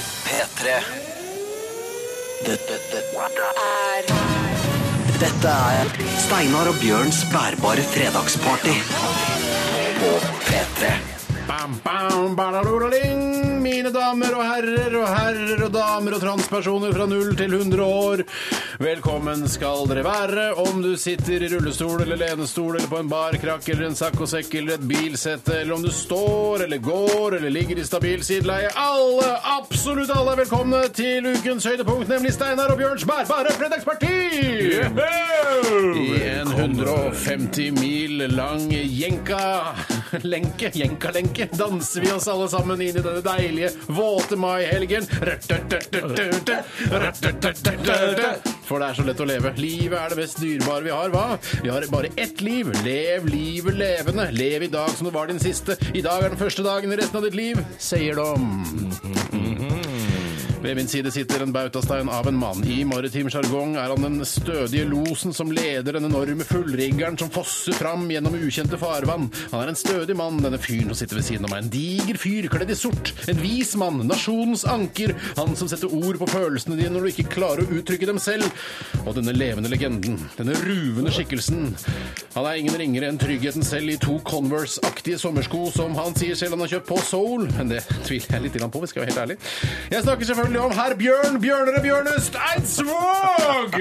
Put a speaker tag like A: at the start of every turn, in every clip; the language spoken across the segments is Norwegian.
A: P3. Dette, dette, dette er Steinar og Bjørns bærbare fredagsparty på P3.
B: Bam, bam, badalolaling. Mine damer og herrer og herrer og damer og transpersoner fra 0 til 100 år. Velkommen skal dere være om du sitter i rullestol eller lenestol eller på en barkrakk eller en saccosekk eller et bilsette, eller om du står eller går eller ligger i stabil sideleie. Alle, absolutt alle er velkomne til ukens høydepunkt, nemlig Steinar og Bjørns bærbare fredagsparti! I en 150 mil lang jenka lenke, jenka lenke, danser vi oss alle sammen inn i denne deilige, våte maihelgen. Røttetøttetøtte, røttetøttetøtte. For det er så lett å leve. Livet er det mest dyrebare vi har, hva? Vi har bare ett liv. Lev livet levende. Lev i dag som det var din siste. I dag er den første dagen i resten av ditt liv, sier de. Ved min side sitter en bautastein av en mann. I maritim sjargong er han den stødige losen som leder den enorme fullriggeren som fosser fram gjennom ukjente farvann. Han er en stødig mann, denne fyren som sitter ved siden av meg. En diger fyr kledd i sort. En vis mann. Nasjonens anker. Han som setter ord på følelsene dine når du ikke klarer å uttrykke dem selv. Og denne levende legenden. Denne ruvende skikkelsen. Han er ingen ringere enn tryggheten selv i to Converse-aktige sommersko som han sier selv han har kjøpt på Soul. Men det tviler jeg litt grann på, vi skal være helt ærlig. Jeg snakker selvfølgelig om herr Bjørn Bjørnere Bjørnest Eidsvåg!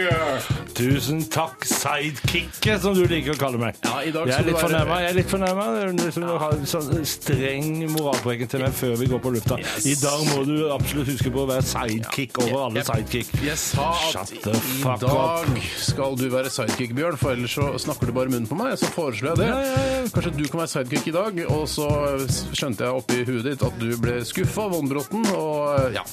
C: Tusen takk, sidekicket, som du liker å kalle meg.
B: Ja, i dag
C: jeg
B: skal
C: er
B: du
C: litt
B: være-
C: fornærma. Jeg er litt fornærma. Det er Liksom, du har en sånn streng moralpreken til meg før vi går på lufta.
B: Yes.
C: I dag må du absolutt huske på å være sidekick over alle
B: Jeg-
C: sidekick.
B: Jeg sa at
C: Shut
B: i
C: the fuck up.
B: dag skal du være sidekick, Bjørn, for ellers så snakker du bare munnen på meg. Så foreslår jeg det. Kanskje du kan være sidekick i dag. Og så skjønte jeg oppi huet ditt at du ble skuffa, vonbrotten, og eh, ja.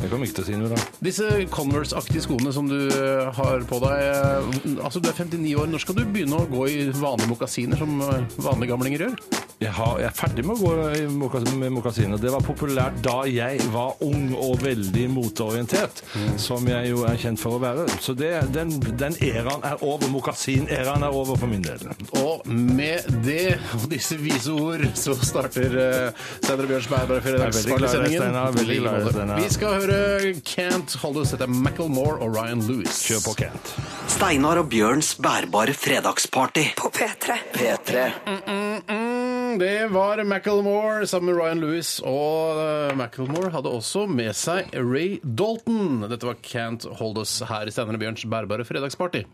C: Jeg kommer ikke til å si noe da.
B: Disse Converse-aktige skoene som du eh, har på deg eh, Altså, du er 59 år. Når skal du begynne å gå i vanlige mokasiner, som eh, vanlige gamlinger gjør?
C: Jeg, har, jeg er ferdig med å gå eh, i mokas- med mokasiner. Det var populært da jeg var ung og veldig moteorientert,
B: Mm.
C: som jeg jo er kjent for å være. Så det, den, den eraen er over. Mokasin-eraen er over for min del.
B: Og med det og disse vise ord så starter uh, Steinar og Bjørns bærbare
C: Jeg er veldig glad i deg,
B: fredagssendingen.
C: Steinar. Veldig glad i deg, Steinar.
B: Vi skal høre Can't Hold Us etter Macklemore og Ryan Lewis.
C: Kjør på, Kent.
A: Steinar og Bjørns bærbare fredagsparty.
D: På P3.
A: P3.
B: Mm, det var Macklemore sammen med Ryan Lewis. Og uh, Macklemore hadde også med seg Ray Dalton. Dette var Can't Hold Us her i Steinar og Bjørns bærbare fredagsparty.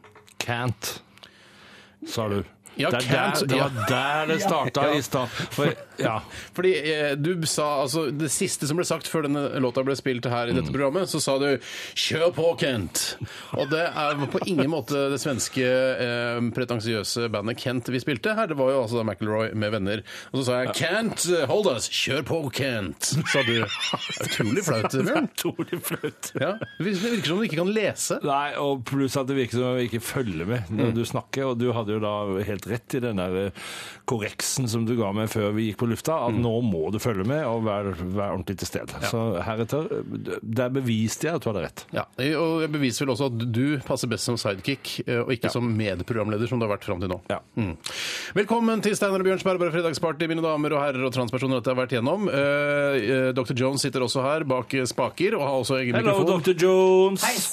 C: Can't, sa du.
B: Ja,
C: det, er
B: can't,
C: der, det
B: ja.
C: var der det starta i stad. For- Ja.
B: Fordi eh, du sa altså Det siste som ble sagt før denne låta ble spilt her i dette programmet, så sa du 'kjør på, Kent'. Og det er på ingen måte det svenske eh, pretensiøse bandet Kent vi spilte her. Det var jo altså da McIlroy med venner. Og så sa jeg 'Kent, hold us, kjør på, Kent', sa du. Det er Utrolig flaut, Bjørn.
C: Utrolig flaut.
B: Ja, det virker som du ikke kan lese.
C: Nei, og pluss at det virker som om jeg ikke følger med når
B: Mm.
C: du snakker. Og du hadde jo da helt rett i den der eh, korreksen som du ga meg før vi gikk på lufta,
B: Mm.
C: at nå må du følge med og være, være ordentlig til stede. Så heretter eh, Der beviste jeg at du hadde rett.
B: Ja, Og jeg beviser vel også at du passer best som sidekick, eh, og ikke som medprogramleder, som du har vært fram til nå.
C: Ja.
B: Mm. Velkommen til Steinar og Bjørns bærbare fredagsparty, mine damer og herrer og transpersoner. Dette har jeg vært gjennom. Eh, eh, Dr. Jones sitter også her bak eh, spaker og har også egen
C: Hello,
B: mikrofon.
C: Dr. Jones!
E: Heis.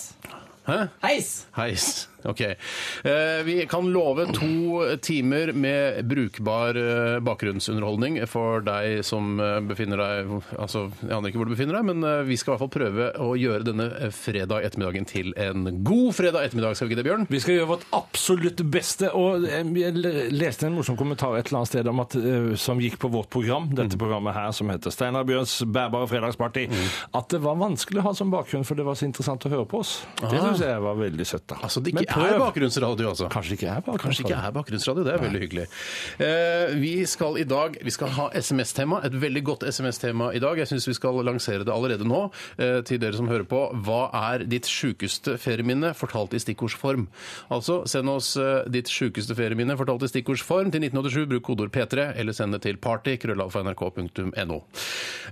B: Hæ?
E: Heis.
B: Heis. Ok. Eh, vi kan love to timer med brukbar eh, bakgrunnsunderholdning for deg som eh, befinner deg Altså, jeg aner ikke hvor du befinner deg, men eh, vi skal i hvert fall prøve å gjøre denne eh, fredag ettermiddagen til en god fredag ettermiddag, skal vi ikke det, Bjørn?
C: Vi skal gjøre vårt absolutt beste. Og eh, jeg leste en morsom kommentar et eller annet sted om at, eh, som gikk på vårt program,
B: Mm.
C: dette programmet her som heter Steinar Bjørns bærbare fredagsparty, at det var vanskelig å ha som bakgrunn, for det var så interessant å høre på oss. Det syns jeg var veldig søtt. da.
B: Ah. Altså, det
C: Men
B: ikke
C: prøv.
B: er bakgrunnsradio, altså?
C: Kanskje det ikke er bakgrunn.
B: Kanskje ikke er bakgrunnsradio. Det er veldig hyggelig. Eh, vi skal i dag vi skal ha SMS-tema. Et veldig godt SMS-tema i dag. Jeg syns vi skal lansere det allerede nå. eh, til dere som hører på, hva er ditt sjukeste ferieminne fortalt i stikkordsform? Altså, send oss eh, ditt sjukeste ferieminne fortalt i stikkordsform til 1987. Bruk kodeord P3, eller send det til party party.nrk.no.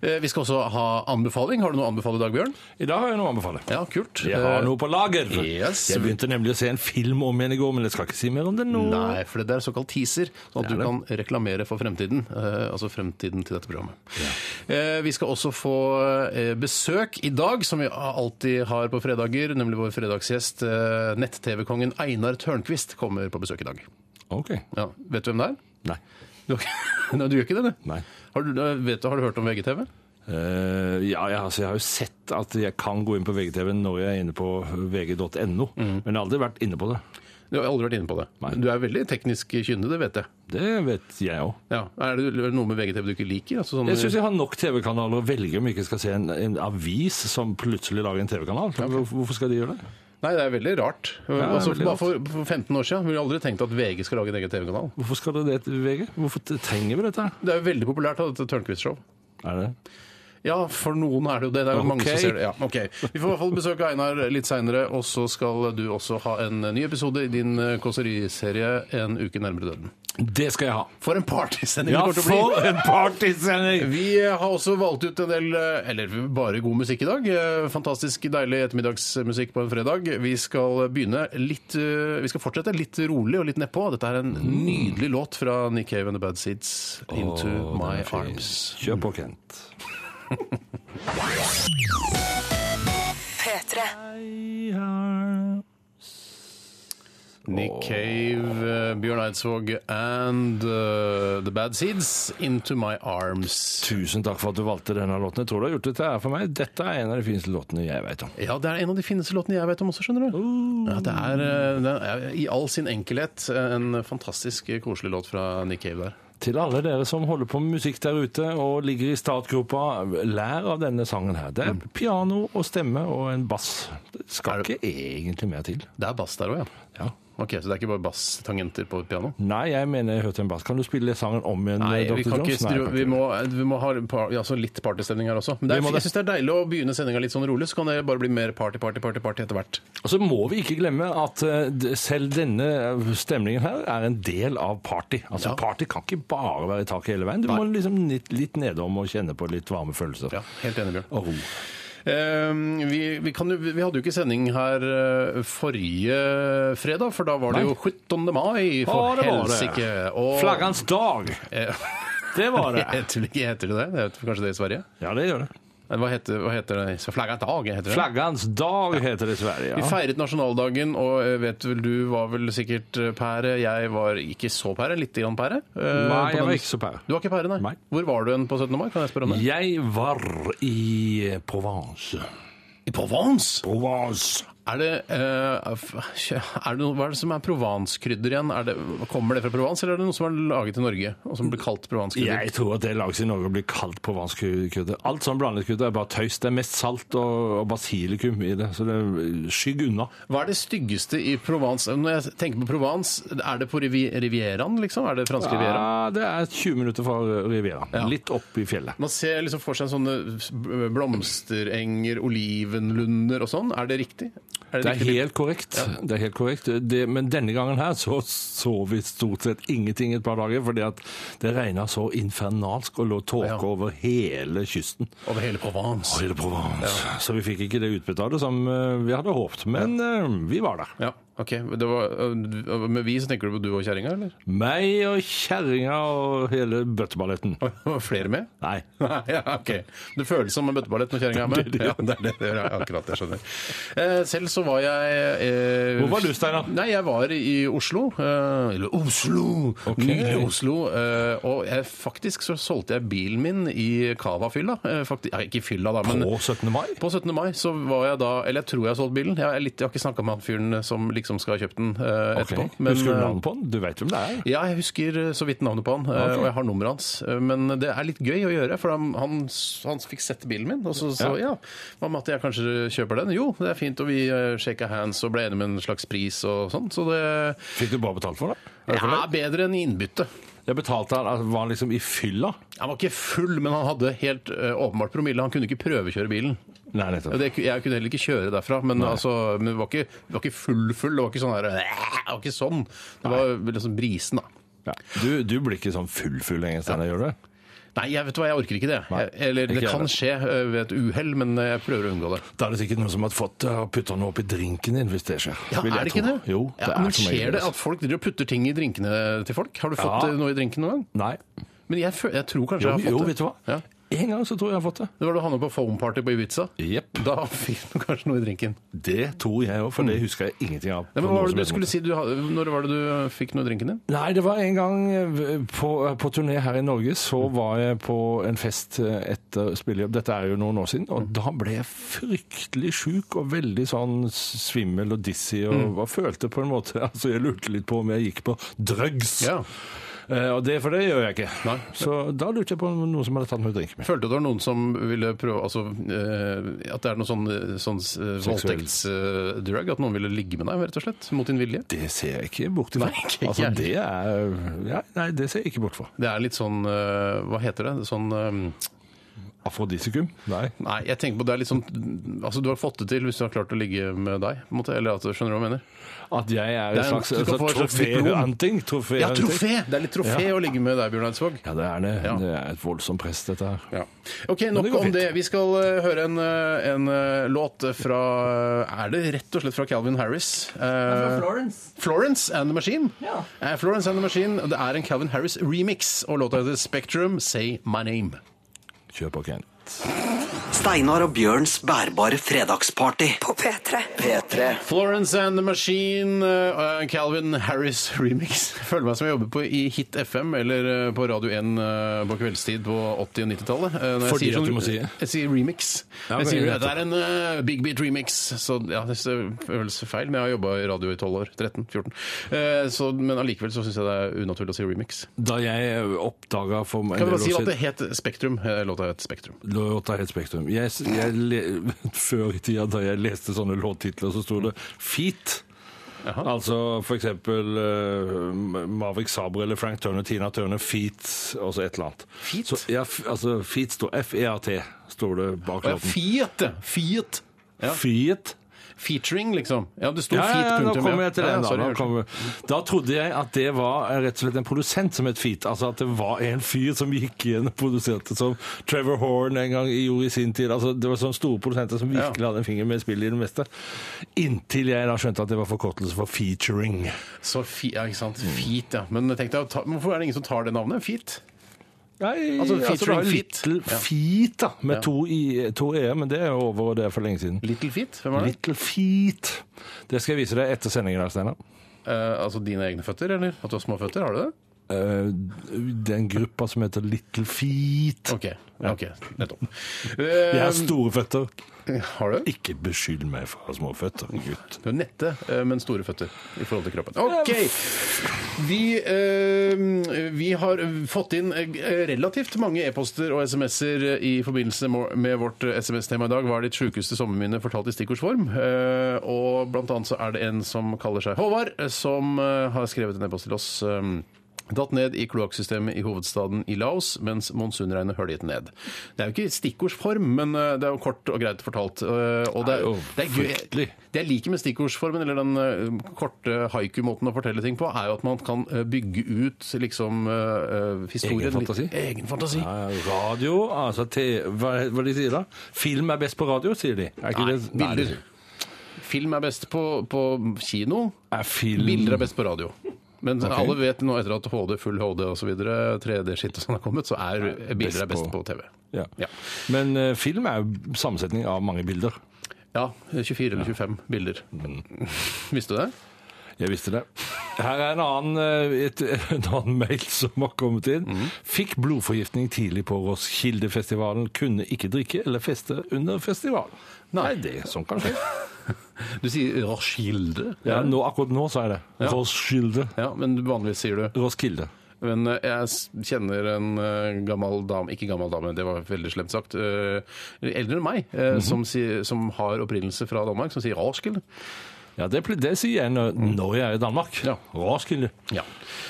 B: Eh, vi skal også ha anbefaling. Har du noe å anbefale i dag, Bjørn?
C: I dag har jeg noe å anbefale.
B: Ja, kult.
C: Jeg har
B: Eh,
C: noe på lager.
B: Yes.
C: Jeg begynte nemlig å se se en film om igjen i går, men jeg skal ikke si mer om det nå.
B: Nei, for det er såkalt teaser, sånn at
C: Det er
B: du kan reklamere for fremtiden. eh, altså fremtiden til dette programmet. Eh, vi skal også få eh, besøk i dag, som vi alltid har på fredager, nemlig vår fredagsgjest, eh, nett-TV-kongen Einar Tørnquist, kommer på besøk i dag.
C: Ok.
B: Ja, vet du hvem det er?
C: Nei.
B: Du, har ikke- Nei, du gjør ikke det, du?
C: Nei.
B: Har du, vet du, har du hørt om VGTV?
C: Eh, ja, jeg, altså, jeg har jo sett at jeg kan gå inn på VGTV når jeg er inne på vg.no,
B: Mm.
C: men jeg har aldri vært inne på det.
B: Du har aldri vært inne på det.
C: Nei.
B: Du er veldig teknisk kyndig, det vet jeg.
C: Det vet jeg òg.
B: Ja. Er det er det noe med VGTV du ikke liker? Altså, sånn,
C: Jeg syns jeg har nok TV-kanaler å velge om jeg ikke skal se en, en avis som plutselig lager en TV-kanal. Hvor- Hvorfor skal de gjøre det?
B: Nei, det er veldig rart.
C: er
B: altså,
C: veldig
B: bare for, for 15 år siden ville jeg aldri tenkt at VG skal lage en egen TV-kanal.
C: Hvorfor skal det det til VG? Hvorfor t- trenger vi dette? her?
B: Det er jo veldig populært av dette Tørnquist-show.
C: Er det?
B: Ja, for noen er det jo det. Det er jo
C: Ok.
B: mange som ser det. Ja, ok. Vi får i hvert fall besøke Einar litt seinere, og så skal du også ha en ny episode i din eh, kåseriserie En uke nærmere døden.
C: Det skal jeg ha.
B: For en partysending
C: Ja,
B: det kommer til å bli!
C: for en partysending!
B: Vi har også valgt ut en del, eh, eller bare god musikk i dag. Eh, Fantastisk deilig ettermiddagsmusikk på en fredag. Vi skal begynne litt eh, Vi skal fortsette litt rolig og litt nedpå. Dette er en nydelig låt fra Nick Cave and The Bad Seeds, 'Into My Arms'.
C: Kjør på, Kent.
D: P3.
B: Nick Cave, eh, Bjørn Eidsvåg and uh, The Bad Seeds, 'Into My Arms'.
C: Tusen takk for at du valgte denne låten. Jeg tror du har gjort dette her for meg. Dette er en av de fineste låtene jeg vet om.
B: Ja, det er en av de fineste låtene jeg vet om også, skjønner du. Ja, det, er, eh, det er i all sin enkelhet en fantastisk eh, koselig låt fra Nick Cave der.
C: Til alle dere som holder på med musikk der ute og ligger i startgropa, lær av denne sangen her. Det er piano og stemme og en bass. Det skal
B: Mm. Er det-
C: ikke egentlig mer til.
B: Det er bass der òg, ja.
C: Ja.
B: Ok, Så det er ikke bare basstangenter på et piano?
C: Nei, jeg mener jeg hørte en bass. Kan du spille sangen om igjen,
B: Nei,
C: Dr.
B: vi, kan ikke,
C: Jones? Nei, jeg
B: stru-
C: kan
B: vi,
C: ikke.
B: må, vi må ha par, ja, så litt partystemning her også. Men det er,
C: Vi må det.
B: jeg syns det er deilig å begynne sendinga litt sånn rolig, så kan det bare bli mer party, party, party, party etter hvert.
C: Og så må vi ikke glemme at eh, d- selv denne eh, stemningen her er en del av party.
B: Ja.
C: Altså Party kan ikke bare være i taket hele veien. Du må liksom litt, litt nedom og kjenne på litt varme følelser.
B: Ja, Helt enig, Bjørn.
C: Og ro.
B: Eh, vi, vi, kan, jo- vi hadde jo ikke sending her eh, forrige fredag, for da var det
C: Nei.
B: jo 17. mai, for
C: Å, det var det.
B: helsike! Og-
C: Flaggans dag!
B: Eh,
C: Det var det.
B: Heter det ikke- heter det det? Jeg vet, kanskje det i Sverige?
C: Ja, det gjør det.
B: Nei, Hva heter, hva heter det? Så Flaggans dag, heter det?
C: Flaggans dag heter det i Sverige.
B: Vi
C: Ja.
B: feiret nasjonaldagen, og eh, vet vel du var vel sikkert eh, pære. Jeg var ikke så pære, litt grann pære. Eh,
C: Nei,
B: på
C: jeg
B: den-
C: var ikke så pære.
B: Du var ikke pære, nei.
C: Nei.
B: Hvor var du en på 17. mai? Kan jeg spørre om det?
C: Jeg var i eh, Provence.
B: I Provence!
C: Provence.
B: Er det, eh, f- er det noe, hva er det som er Provence-krydder igjen? Er det, kommer det fra Provence, eller er det noe som er laget i Norge, og som blir kalt Provence-krydder?
C: Jeg tror at det lages i Norge og blir kalt provanskrydder. Alt sånn blandet krydder er bare tøys. Det er mest salt og, og basilikum i det, så det skygg unna.
B: Hva er det styggeste i Provence? Når jeg tenker på Provence, er det på rivi Rivieraen, liksom? Er det franske Rivieraen?
C: Ja, det er 20 minutter fra Riviera. Litt opp i fjellet.
B: Man ser liksom for seg sånne blomsterenger, olivenlunder og sånn. Er det riktig? Er
C: Det er
B: riktig bilde?
C: helt korrekt. Det er helt korrekt. Det, men denne gangen her så så vi stort sett ingenting et par dager, fordi at det regna så infernalsk og lå tåke
B: Ja.
C: over hele kysten.
B: Over hele Provence.
C: Hele Provence. Så vi fikk ikke det utbetalet som eh, vi hadde håpet, men eh, vi var der.
B: Ja, ok. Det var, øh, med vi så tenker du på du og kjerringa, eller?
C: Meg og kjerringa og hele bøtteballetten.
B: Var Flere med?
C: Nei.
B: Nei, ja, ok. Det føles som en bøtteballett når kjerringa er med. Ja, det er det det gjør. Ja, akkurat, jeg skjønner. Eh, Selv så var jeg eh,
C: Hvor var du, Steinar?
B: Nei, jeg var i Oslo. eh, Eller Oslo!
C: Ok.
B: Nydelig Oslo. eh, Og jeg, faktisk så solgte jeg bilen min i Cava-fylla. Eh, fakti- Ja, ikke i fylla, da, men
C: På 17. mai?
B: På 17. mai så var jeg da Eller jeg tror jeg har solgt bilen. Jeg, er litt, jeg har ikke snakka med han fyren som liksom skal ha kjøpt den eh,
C: Ok.
B: etterpå.
C: Husker du
B: eh,
C: navnet på den? Du vet hvem det er?
B: ja, jeg husker eh, så vidt navnet på han, eh,
C: Ok.
B: og jeg har nummeret hans. Eh, Men det er litt gøy å gjøre, for han, han, han fikk sett bilen min. Og så, så ja, hva med at jeg kanskje kjøper den? Jo, det er fint, og vi eh, shaka hands og ble enige med en slags pris og sånn. Så det
C: Fikk du bare betalt for det?
B: er bedre enn innbytte.
C: Jeg betalte han, altså, var han liksom i fylla?
B: Han var ikke full, men han hadde helt eh, åpenbart promille. Han kunne ikke prøvekjøre bilen.
C: Nei,
B: Og
C: nettopp.
B: Det, jeg kunne heller ikke kjøre derfra, men, altså, men det, var ikke, det var ikke full full. Det var ikke sånn her, det var ikke sånn. Det var liksom brisen, da.
C: Ja. Du, du blir ikke sånn full-full lenger, Steinar, gjør du?
B: Nei, jeg vet hva, jeg orker ikke det.
C: Nei,
B: Jeg, eller det
C: ikke
B: kan
C: jeg
B: skje ø, ved et uhell, men eh, jeg prøver å unngå det.
C: Da er det sikkert noen som har fått uh, putta noe oppi drinken din, hvis det skjer.
B: Ja,
C: Vil jeg
B: er det ikke
C: tro.
B: det?
C: Jo, det
B: ja,
C: er
B: men
C: som regel
B: skjer det at folk driver og putter ting i drinkene til folk? Har du fått
C: Ja.
B: ø, noe i drinken noen gang?
C: Nei.
B: Men jeg, fø- jeg tror kanskje
C: Jo,
B: jeg har fått
C: jo,
B: det.
C: vet du hva?
B: Ja.
C: En gang så tror jeg jeg har fått det.
B: Det var da du havnet på foam-party på Ibiza.
C: Jepp.
B: Da fikk du kanskje noe i drinken.
C: Det tror jeg òg, for det husker jeg ingenting av.
B: Nei, men
C: på
B: hva var
C: noe
B: det du
C: som helst
B: skulle si? Du, hadde- når var det du fikk noe i drinken din?
C: Nei, det var en gang eh, på, på turné her i Norge, så var jeg på en fest eh, etter spillejobb. Dette er jo noen år siden. Og da ble jeg fryktelig sjuk og veldig sånn svimmel og dizzy og, og følte på en måte Altså, jeg lurte litt på om jeg gikk på drugs.
B: Ja.
C: Eh, og det, for det gjør jeg ikke.
B: Nei.
C: Så da lurte jeg på om noen som hadde tatt noe drink med.
B: Følte du det var noen som ville prøve altså, eh, At det er noe sånn, eh, sånn voldtektsdrug? at noen ville ligge med deg, rett og slett? Mot din vilje?
C: Det ser jeg ikke bort ifra.
B: Nei, ikke
C: altså,
B: jeg.
C: det er, ja, nei, det ser jeg ikke bort fra.
B: Det er litt sånn eh, Hva heter det? Sånn eh,
C: Afrodisikum? Nei.
B: Nei, jeg tenker på det er litt sånn Altså, du har fått det til hvis du har klart å ligge med deg. På en måte, eller at, skjønner du hva jeg mener?
C: At jeg er
B: Det er
C: en slags, altså,
B: en- du kan få et slags diplom.
C: troféhunting? Trofé
B: Ja, trofé! Det er litt trofé å ligge med deg, Bjørn Eidsvåg.
C: Ja, det er det.
B: Ja.
C: Det er et voldsomt press, dette her.
B: Ja. Ok,
C: Men
B: nok
C: det går
B: om
C: fint.
B: det. Vi skal eh, høre en, eh, en eh, låt fra eh, Er det rett og slett fra Calvin Harris? Eh,
D: Florence.
B: Florence and the Machine.
D: Ja.
B: Eh, Florence and the Machine, Det er en Calvin Harris remix, og låta heter Spectrum Say My Name.
C: Kjør på, Ken.
A: Steinar og Bjørns bærbare fredagsparty.
E: På P3.
A: P3.
B: Florence and the Machine, eh, Calvin Harris remix. Jeg Føler meg som jeg jobber på i Hit FM eller eh, på Radio 1 eh, på kveldstid på 80- og 90-tallet. Eh, når jeg
C: Fordi
B: sier
C: at du må si det.
B: Jeg sier remix. jeg
C: Ja, men
B: sier
C: nettopp.
B: det er en eh, Big Beat remix, så ja, det føles feil. Men jeg har jobba i radio i 12 år. 13, 14. Eh, så, men allikevel så syns jeg det er unaturlig å si remix.
C: Da jeg oppdaga for meg
B: Kan vi bare si at det het Spektrum? Eh, Låta het Spektrum.
C: Låta het Spektrum. Jeg, s- jeg le, før i tida da jeg leste sånne låttitler, så sto det Feet.
B: Jaha.
C: Altså for eksempel eh, Maverick Sabre eller Frank Turner, Tina Turner, Feet, og så et eller annet.
B: Feat?
C: Så, ja, f, altså Feet står F-E-A-T, står det bak
B: Å ja,
C: låten.
B: Fiat! ja. Fiat! ja.
C: Feet.
B: Featuring, liksom. Ja, det sto
C: Ja, ja, ja,
B: Fiat.
C: nå
B: punktum,
C: kommer jeg til
B: Ja, ja,
C: den. Da,
B: sorry,
C: da,
B: unnskyld.
C: kommer- da trodde jeg at det var eh, rett og slett en produsent som het Feet. Altså at det var en fyr som gikk igjen og produserte som Trevor Horn en gang gjorde i sin tid. Altså Det var sånne store produsenter som virkelig hadde en finger med i spillet i det meste. Inntil jeg da skjønte at det var forkortelse for featuring.
B: Så fi, ja, ikke sant? Feet, ja. Men tenk deg, ta, hvorfor er det ingen som tar det navnet? Feet?
C: Nei,
B: Altså,
C: altså, det
B: featuring
C: var
B: Feet.
C: Little
B: Ja.
C: Feet, da, med
B: Ja.
C: to, i, to e-er, men det er jo over, og det er for lenge siden.
B: Little Feet? Hvem er det?
C: Little Feet. Det skal jeg vise deg etter sendingen, da, Steinar.
B: Eh, altså dine egne føtter, eller? At du har små føtter, har du det?
C: Eh, Det er en gruppa som heter Little Feet.
B: Ok, ok, nettopp.
C: Jeg har
B: Eh,
C: store føtter.
B: har du?
C: Ikke beskyld meg for å ha små føtter, gutt.
B: Du er nette, eh, men store føtter i forhold til kroppen. Ok! Vi, eh, vi har fått inn eh, relativt mange e-poster og SMS-er eh, i forbindelse må- med vårt eh, SMS-tema i dag. Hva er ditt sjukeste sommerminne fortalt i stikkordsform? Eh, og blant annet så er det en som kaller seg Håvard, eh, som eh, har skrevet en e-post til oss. eh, Datt ned i kloakksystemet i hovedstaden i Laos, mens monsunregnet høljet ned. Det er jo ikke stikkordsform, men eh, det er jo kort og greit fortalt. eh, Og det er,
C: jo
B: det er gøy.
C: fryktelig.
B: Det jeg liker med stikkordsformen, eller den eh, korte haiku-måten å fortelle ting på, er jo at man kan eh, bygge ut liksom eh, eh, historien
C: Egen fantasi?
B: litt- Egen fantasi.
C: Radio, altså te, hva, hva de sier da? Film er best på radio, sier de. Er ikke
B: Nei,
C: det-
B: bilder.
C: Nei,
B: Film er best på, på kino.
C: Er film
B: Bilder er best på radio. Men
C: Ok.
B: alle vet nå etter at HD, full HD osv., 3D-skitt og sånn har kommet, så er eh, bilder er best
C: på-
B: på TV.
C: Ja.
B: Ja.
C: Men eh, film er jo sammensetning av mange bilder.
B: Ja, 24 eller 25 bilder.
C: Mm.
B: Visste du det?
C: Jeg visste det. Her er en annen, eh, et, en annen mail som har kommet inn. Fikk blodforgiftning tidlig på Roskildefestivalen. Kunne ikke drikke eller feste under festivalen. Nei, det sånn kan skje.
B: Du sier Roskilde.
C: Ja, nå, akkurat nå sa jeg det. Roskilde.
B: Ja, men vanligvis sier du
C: Roskilde.
B: Men eh, jeg s- kjenner en eh, gammel dame Ikke gammel dame, det var veldig slemt sagt.
C: Mhm.
B: eh, Eldre enn meg, eh, som, sier- som har opprinnelse fra Danmark, som sier Roskilde.
C: Ja, det, ple- det sier jeg når, når jeg er i Danmark.
B: Ja.
C: Roskilde.
B: Ja.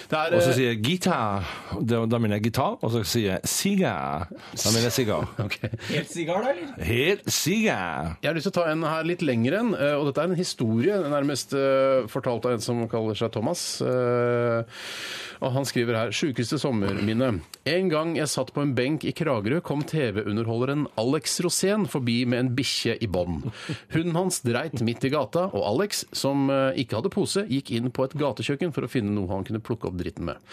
B: Det er,
C: Og så
B: eh,
C: sier jeg gitar, da, da mener jeg gitar, og så sier jeg sigar, da mener jeg sigar.
B: ok.
D: Helt sigar, da, eller?
C: Helt sigar.
B: Jeg har lyst til å ta en her litt lenger enn, eh, og dette er en historie, nærmest eh, fortalt av en som kaller seg Thomas. Eh, Og han skriver her Sjukeste sommerminne. En gang jeg satt på en benk i Kragerø, kom TV-underholderen Alex Rosén forbi med en bikkje i bånd. Hunden hans dreit midt i gata, og Alex, som eh, ikke hadde pose, gikk inn på et gatekjøkken for å finne noe han kunne plukke opp dritten med.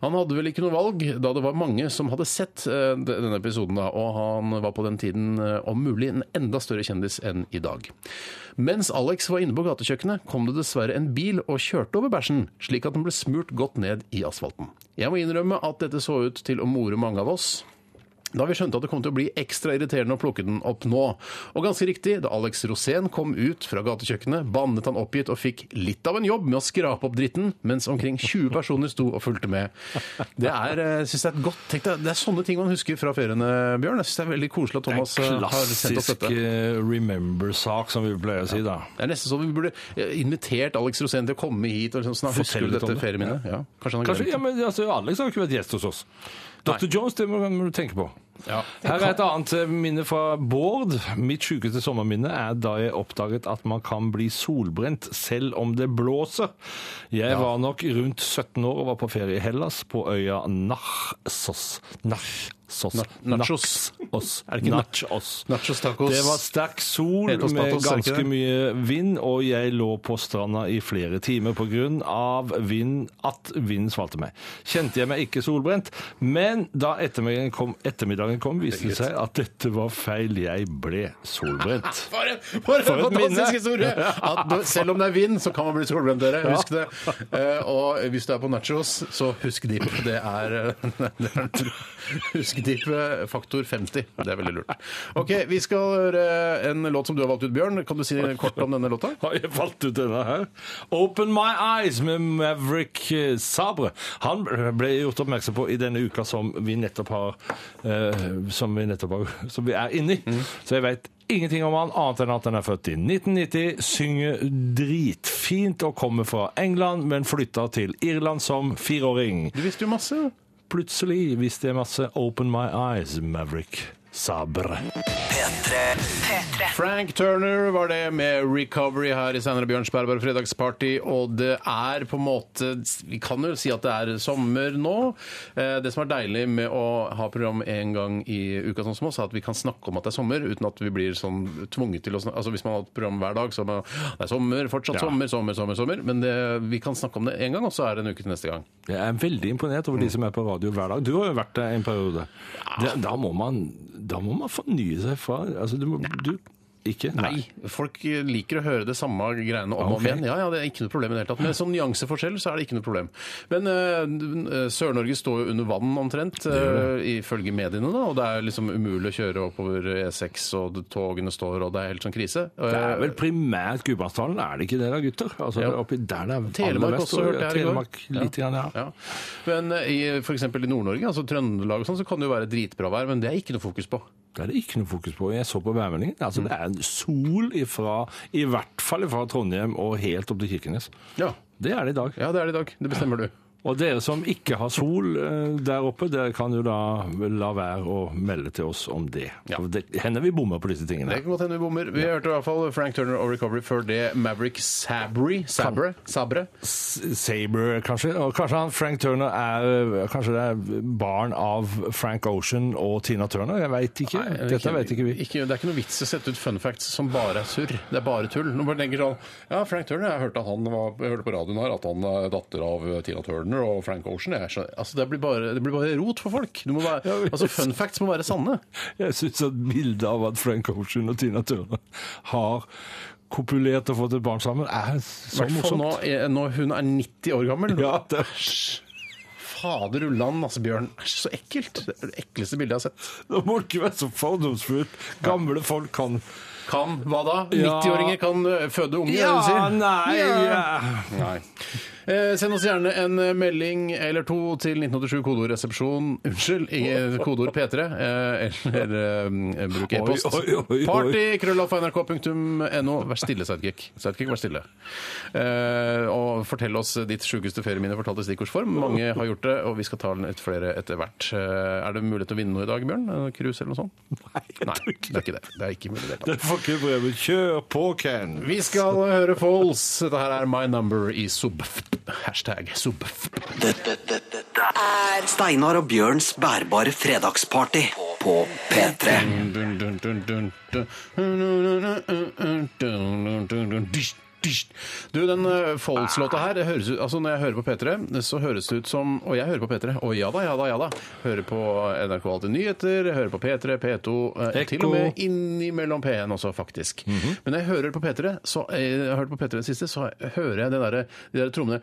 B: Han hadde vel ikke noe valg, da det var mange som hadde sett eh, de- denne episoden, da, og han var på den tiden eh, om mulig en enda større kjendis enn i dag. Mens Alex var inne på gatekjøkkenet, kom det dessverre en bil og kjørte over bæsjen, slik at den ble smurt godt ned i asfalten. Jeg må innrømme at dette så ut til å more mange av oss. Da vi skjønte at det kom til å bli ekstra irriterende å plukke den opp nå. Og ganske riktig, da Alex Rosén kom ut fra gatekjøkkenet, bannet han oppgitt og fikk litt av en jobb med å skrape opp dritten, mens omkring 20 personer sto og fulgte med. Det er, eh, synes jeg, er et godt tenk deg, det er sånne ting man husker fra feriene, Bjørn. Jeg synes det er veldig koselig at Thomas eh, har sendt oss
C: Klassisk
B: dette.
C: eh, remember-sak, som vi pleier å si, da.
B: Det er nesten sånn vi burde eh, invitert Alex Rosén til å komme hit og liksom snakke husker
C: Fortelle
B: du
C: litt om
B: dette
C: det.
B: ferieminnet. Ja. Kanskje han har
C: Kanskje, ja,
B: glemt det.
C: men altså, Alex har jo ikke vært gjest hos oss. Dr. Jones, det må, må du tenke på.
B: Ja.
C: Her er et annet eh, minne fra Bård. Mitt sjukeste sommerminne er da jeg oppdaget at man kan bli solbrent selv om det blåser. Jeg var nok rundt 17 år og var på ferie i Hellas, på øya Narsos. Narsos.
B: Na- Nachos.
C: Nachos. Er
B: det ikke na-
C: Nachos?
B: Nachos tacos.
C: Det var sterk sol
B: Etos
C: med
B: tatos, er det ikke
C: ganske
B: det?
C: mye vind, og jeg lå på stranda i flere timer på grunn av vind, at vinden svalte meg. Kjente jeg meg ikke solbrent, men da ettermiddagen kom, ettermiddagen kom viste det seg at dette var feil. Jeg ble solbrent.
B: For en, for en
C: For
B: fantastisk
C: et minne.
B: historie! At du, selv om det er vind, så kan man bli solbrent, dere. Husk det. Eh, og hvis du er på nachos, så husk dipp. Det er, eh, det er Husk dipp eh, faktor 50. Det er veldig lurt. OK, vi skal høre en låt som du har valgt ut, Bjørn. Kan du si kort om denne låta?
C: Har jeg falt ut denne her? Open My Eyes med Maverick eh, Sabre. Han ble gjort oppmerksom på i denne uka som vi nettopp har eh, Som vi nettopp har, som vi er inni. Så jeg veit ingenting om han annet enn at han er født i 1990, synger dritfint og kommer fra England, men flytta til Irland som fireåring.
B: Du visste jo masse.
C: Plutselig visste jeg masse Open My Eyes, Maverick Sabre.
A: P3.
B: Frank Turner var det med Recovery her i Steinar og Bjørns bærbare fredagsparty. Og det er på en måte Vi kan jo si at det er sommer nå. Eh, Det som er deilig med å ha program én gang i uka, sånn som oss, er at vi kan snakke om at det er sommer, uten at vi blir sånn tvunget til å snakke Altså Hvis man har hatt program hver dag, så er man, «Ah, det er sommer, fortsatt
C: Ja.
B: sommer, sommer, sommer. sommer Men det, vi kan snakke om det én gang, og så er det en uke til neste gang.
C: Jeg er veldig imponert over de som er på radio hver dag. Du har jo vært der en periode. Da, da, må, man, da må man fornye seg fra altså, du, må, du Ikke?
B: Nei. Folk liker å høre det samme greiene om og om
C: Ok.
B: igjen. Ja, ja, det er ikke noe problem i det hele tatt. Med sånn nyanseforskjell så er det ikke noe problem. Men eh, Sør-Norge står jo under vann omtrent, uh, ifølge mediene, da, og det er liksom umulig å kjøre oppover E6, og togene står, og det er helt sånn krise.
C: Det er vel primært Gudbrandsdalen, er det ikke det da, gutter? Altså,
B: Ja.
C: oppi der det er aller
B: Telemark
C: verst,
B: også,
C: og-
B: hørte jeg her i går.
C: Telemark litt, grann, ja.
B: Ja. Men eh, i f.eks. i Nord-Norge, altså Trøndelag og sånn, så kan det jo være dritbra vær, men det er ikke noe fokus på.
C: Det er det ikke noe fokus på. Jeg så på værmeldingen. Altså, det er sol ifra, i hvert fall fra Trondheim og helt opp til Kirkenes.
B: Ja.
C: Det er det i dag.
B: ja, det er det i dag. Det bestemmer du.
C: Og dere som ikke har sol eh, der oppe, dere kan jo da la være å melde til oss om det.
B: Ja.
C: For Det hender vi bommer på disse tingene.
B: Det kan godt hende vi bommer. Vi hørte i hvert fall Frank Turner og Recovery før det Maverick Sabri Sabre, Sabre.
C: S- Saber, kanskje. Og kanskje han Frank Turner er eh, Kanskje det er barn av Frank Ocean og Tina Turner? Jeg veit ikke.
B: Nei,
C: Dette vet ikke vi.
B: det er ikke noe vits i å sette ut fun facts som bare er surr. Det er bare tull. Når man tenker sånn Ja, Frank Turner, jeg hørte, at han var, jeg hørte på radioen her at han er datter av Tina Turner og Frank Ocean. Jeg skjønner, altså, det, blir bare, det blir bare rot for folk. Du må være,
C: Ja, men-
B: altså, fun facts må være sanne.
C: Jeg syns at bildet av at Frank Ocean og Tina Turner har kopulert og fått et barn sammen, er så
B: I hvert fall nå,
C: morsomt.
B: er- når hun er 90 år gammel.
C: Ja, det,
B: Fader ulland, altså, Bjørn. Æsj, så ekkelt. Det er det ekleste bildet jeg har sett.
C: nå må du ikke være så fordomsfull. Gamle folk kan
B: Kan hva da? 90-åringer kan ø, føde unge, er det du sier?
C: nei
B: Ja.
C: ja.
B: Nei. Eh, send oss gjerne en eh, melding eller to til 1987 kodeordresepsjon Unnskyld, ikke- kodeord P3. Eh, eller eh, bruk e-post.
C: Oi, oi, oi, oi.
B: Party, krøllalfa, nrk.no. Vær stille, Sidekick. Sidekick, vær stille. Eh, og fortell oss ditt sjukeste ferieminne fortalt i stikkordsform. Mange har gjort det, og vi skal ta litt flere etter hvert. Eh, er det mulighet til å vinne noe i dag, Bjørn? Eh, Cruise eller noe sånt? Nei, det er ikke det. Det er ikke mulig. i Det, hele tatt.
C: Det får ikke prøve. Kjør på, Ken.
B: Vi skal høre Foles. Dette her er My Number i Subf. Hashtag Subf.
A: Dette, dette, dette er Steinar og Bjørns bærbare fredagsparty på P3.
B: Du, den eh, Foles-låta her, det høres ut, altså når jeg hører på P3, så høres det ut som Og jeg hører på P3. Å ja da, ja da, ja da. Hører på NRK Alltid Nyheter, jeg hører på P3, P2 eh, Til og med innimellom P1 også, faktisk. Men når jeg hører på P3, så eh, jeg har hørt på P3 den siste, så hører jeg det derre- de der trommene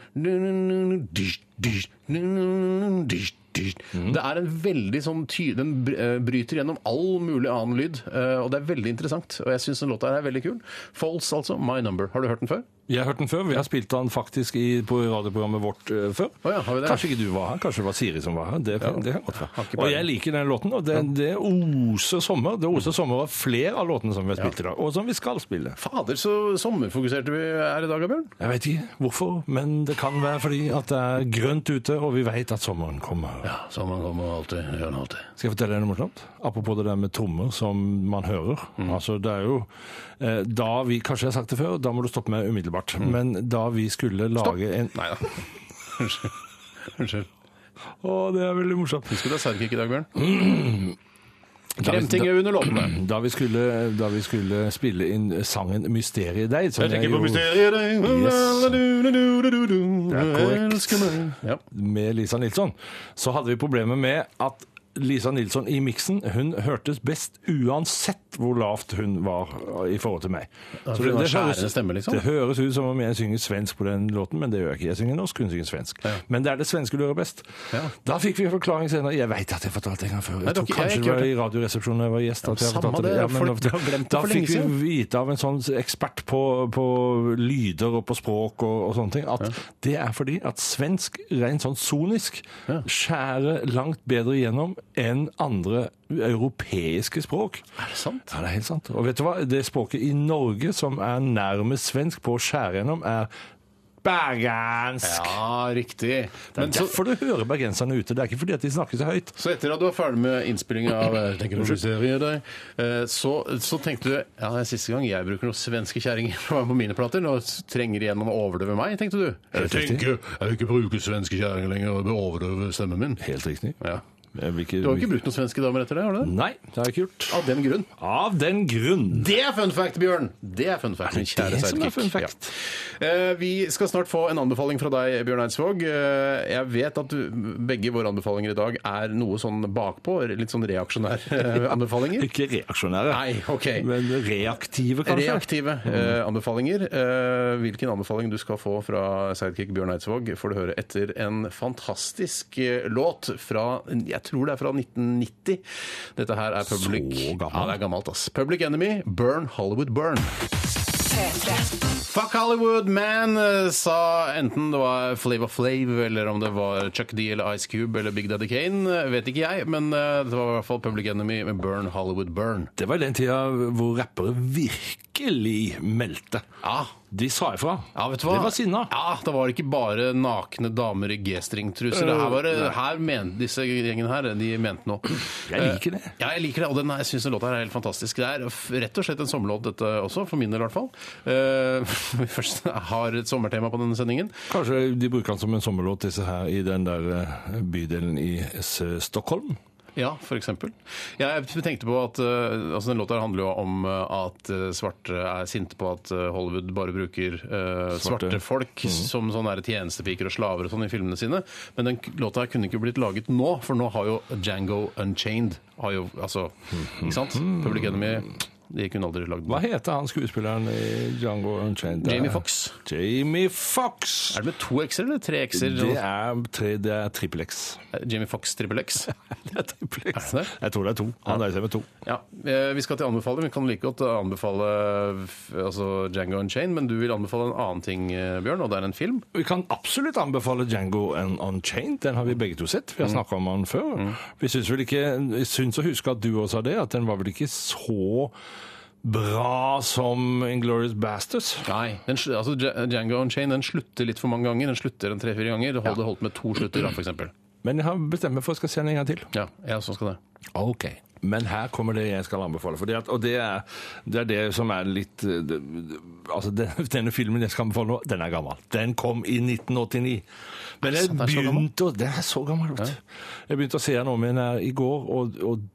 B: Mhm. Det er en veldig sånn ty Den br- eh, bryter gjennom all mulig annen lyd, eh, og det er veldig interessant. Og jeg syns den låta her er veldig kul. False, altså. My Number. Har du hørt den før?
C: Jeg har hørt den før. Vi har spilt den faktisk i, på radioprogrammet vårt eh, før.
B: Å ja, har vi det?
C: Kanskje ikke du var her, kanskje det var Siri som var her. Det, kan- det kan godt være.
B: ikke
C: Og
B: peiling.
C: jeg liker den låten, og det, det oser sommer. Det oser sommer av flere av låtene som vi har spilt i dag, og som vi skal spille.
B: Fader, så sommerfokuserte vi er i dag, Bjørn.
C: Jeg vet ikke hvorfor, men det kan være fordi at det er grønt ute, og vi vet at sommeren kommer.
B: Ja, sommeren kommer alltid. Gjør den alltid.
C: Skal jeg fortelle deg noe morsomt? Apropos det der med trommer som man hører. Altså, det er jo eh, da vi Kanskje jeg har sagt det før, da må du stoppe meg umiddelbart. Men da vi skulle lage en
B: Nei da. Unnskyld. Unnskyld.
C: Å, det er veldig morsomt.
B: Husker du det er Sergik i dag, Bjørn?
C: Da vi-
B: Kremting er under låtene.
C: Da vi, skulle, da vi skulle spille inn sangen 'Mysteriet deg', som jeg jo-
B: mysteriet deg. Det
C: er korrekt.
B: Ja.
C: med Lisa Nilsson, så hadde vi problemer med at Lisa Nilsson i miksen hun hørtes best uansett hvor lavt hun var i forhold til meg.
B: for hun har skjærende stemme, liksom?
C: det høres ut som om jeg synger svensk på den låten, men det gjør jeg ikke. Jeg synger norsk, hun synger svensk. Men det er det svenske du hører best.
B: Ja.
C: Da fikk vi en forklaring senere. Jeg veit at jeg fortalte det en gang før. Jeg
B: Nei, det har
C: tror
B: ikke- jeg har
C: kanskje
B: ikke
C: det var
B: hørt
C: i Radioresepsjonen da jeg var gjest. At jeg
B: samme
C: fortalte
B: det.
C: Ja, men
B: Folk har glemt det
C: da
B: for
C: fikk
B: lenge
C: vi
B: siden.
C: vite av en sånn ekspert på, på lyder og på språk og, og sånne ting, at det er fordi at svensk, rent sånn sonisk, skjærer langt bedre igjennom enn andre europeiske språk.
B: Er det sant?
C: Ja, det er helt sant. Og vet du hva? Det språket i Norge som er nærmest svensk på å skjære gjennom, er bergensk.
B: Ja, riktig. Men så,
C: Derfor du hører bergenserne ute. Det er ikke fordi at de snakker så høyt.
B: så etter at du var ferdig med innspillinga av eh, tenker du mysteriet deg, eh, så, så tenkte du ja, det er siste gang jeg bruker noen svenske kjerringer for å være på mine plater. Nå trenger de en å overdøve meg, tenkte du. Jeg tenker jeg vil ikke bruke svenske kjerringer lenger og overdøve stemmen min.
C: Helt riktig.
B: Ja.
C: Jeg vil
B: Du har ikke brukt noen svenske damer etter det? har du det?
C: Nei, det har jeg ikke gjort.
B: Av den grunn.
C: Av den grunn.
B: Det er fun fact, Bjørn! Det er fun fact. min kjære
C: det som er
B: sidekick.
C: fun fact?
B: Ja. Eh, Vi skal snart få en anbefaling fra deg, Bjørn Eidsvåg. Eh, Jeg vet at du, begge våre anbefalinger i dag er noe sånn bakpå, litt sånn reaksjonære eh, anbefalinger.
C: Ikke reaksjonære.
B: Nei, ok.
C: Men reaktive, kanskje.
B: Reaktive eh, anbefalinger. Eh, hvilken anbefaling du skal få fra sidekick Bjørn Eidsvåg, får du høre etter en fantastisk eh, låt fra Jeg tror det er fra 1990. Dette her er Public
C: Så gammelt.
B: Ja, det er gammelt, ass. Public Enemy, Burn Hollywood Burn. Fuck Hollywood Man, eh, sa enten det var Flavor Flav, eller om det var Chuck D eller Ice Cube eller Big Daddy Kane. eh, Vet ikke jeg, men eh, det var i hvert fall Public Enemy med Burn Hollywood Burn.
C: Det var i den tida hvor rappere virkelig meldte.
B: Ja,
C: De sa ifra.
B: Ja, vet du hva?
C: De var sinna.
B: Ja, Da var det ikke bare nakne damer i G-stringtruser. Det her var det, her mente disse gjengene her, de mente noe. Eh,
C: Jeg liker det.
B: Ja, jeg liker det, og den, jeg syns den låta her er helt fantastisk. Det er f- rett og slett en sommerlåt dette også, for min del i hvert fall. Eh, vi først har et sommertema på denne sendingen.
C: Kanskje de bruker den som en sommerlåt, disse her, i den der eh, bydelen i S Stockholm?
B: Ja, for eksempel. Jeg tenkte på at eh, altså den låta her handler jo om eh, at eh, svarte er sinte på at eh, Hollywood bare bruker eh, svarte.
C: Svarte. Mhm.
B: folk som sånne her tjenestepiker og slaver og sånn i filmene sine. Men den k- låta her kunne ikke blitt laget nå, for nå har jo Django Unchained har jo, altså, Ikke sant? Public Enemy De kunne aldri lagd
C: Mhm. Hva
B: den.
C: heter han skuespilleren i Django Unchained?
B: Jamie Foxx.
C: Jamie Fox!
B: Er det med to x-er eller tre x-er?
C: Det er, tre, det er trippel X.
B: Jamie Fox trippel X.
C: Det er trippel X.
B: Er det det?
C: Jeg tror det er to. Han nøyer seg med to.
B: Ja, eh, Vi skal til anbefale. Vi kan like godt anbefale f- altså Django Unchained, men du vil anbefale en annen ting, eh, Bjørn, og det er en film.
C: Vi kan absolutt anbefale Django and Unchained. Den har vi begge to sett. Vi har snakka om den før. Vi syns vel ikke Jeg syns å huske at du også sa det, at den var vel ikke så bra som Inglorious Bastards.
B: Nei. Den, sl- altså Dja- Django Unchained den slutter litt for mange ganger. Den slutter en tre-fire ganger. Det holdt, det holdt med to slutter, da, for eksempel.
C: Men jeg har bestemt meg for at jeg skal se den en gang til.
B: Ja, jeg også skal det.
C: Ok. Men her kommer det jeg skal anbefale. Fordi at, og det er, det er det som er litt eh, det, det- Altså, den, denne filmen jeg skal anbefale nå, den er gammel. Den kom i 1989.
B: sant, den
C: Men jeg
B: er så gammel?
C: begynte å Den er så gammel. vet du. Jeg begynte å se den om igjen her i går, og, og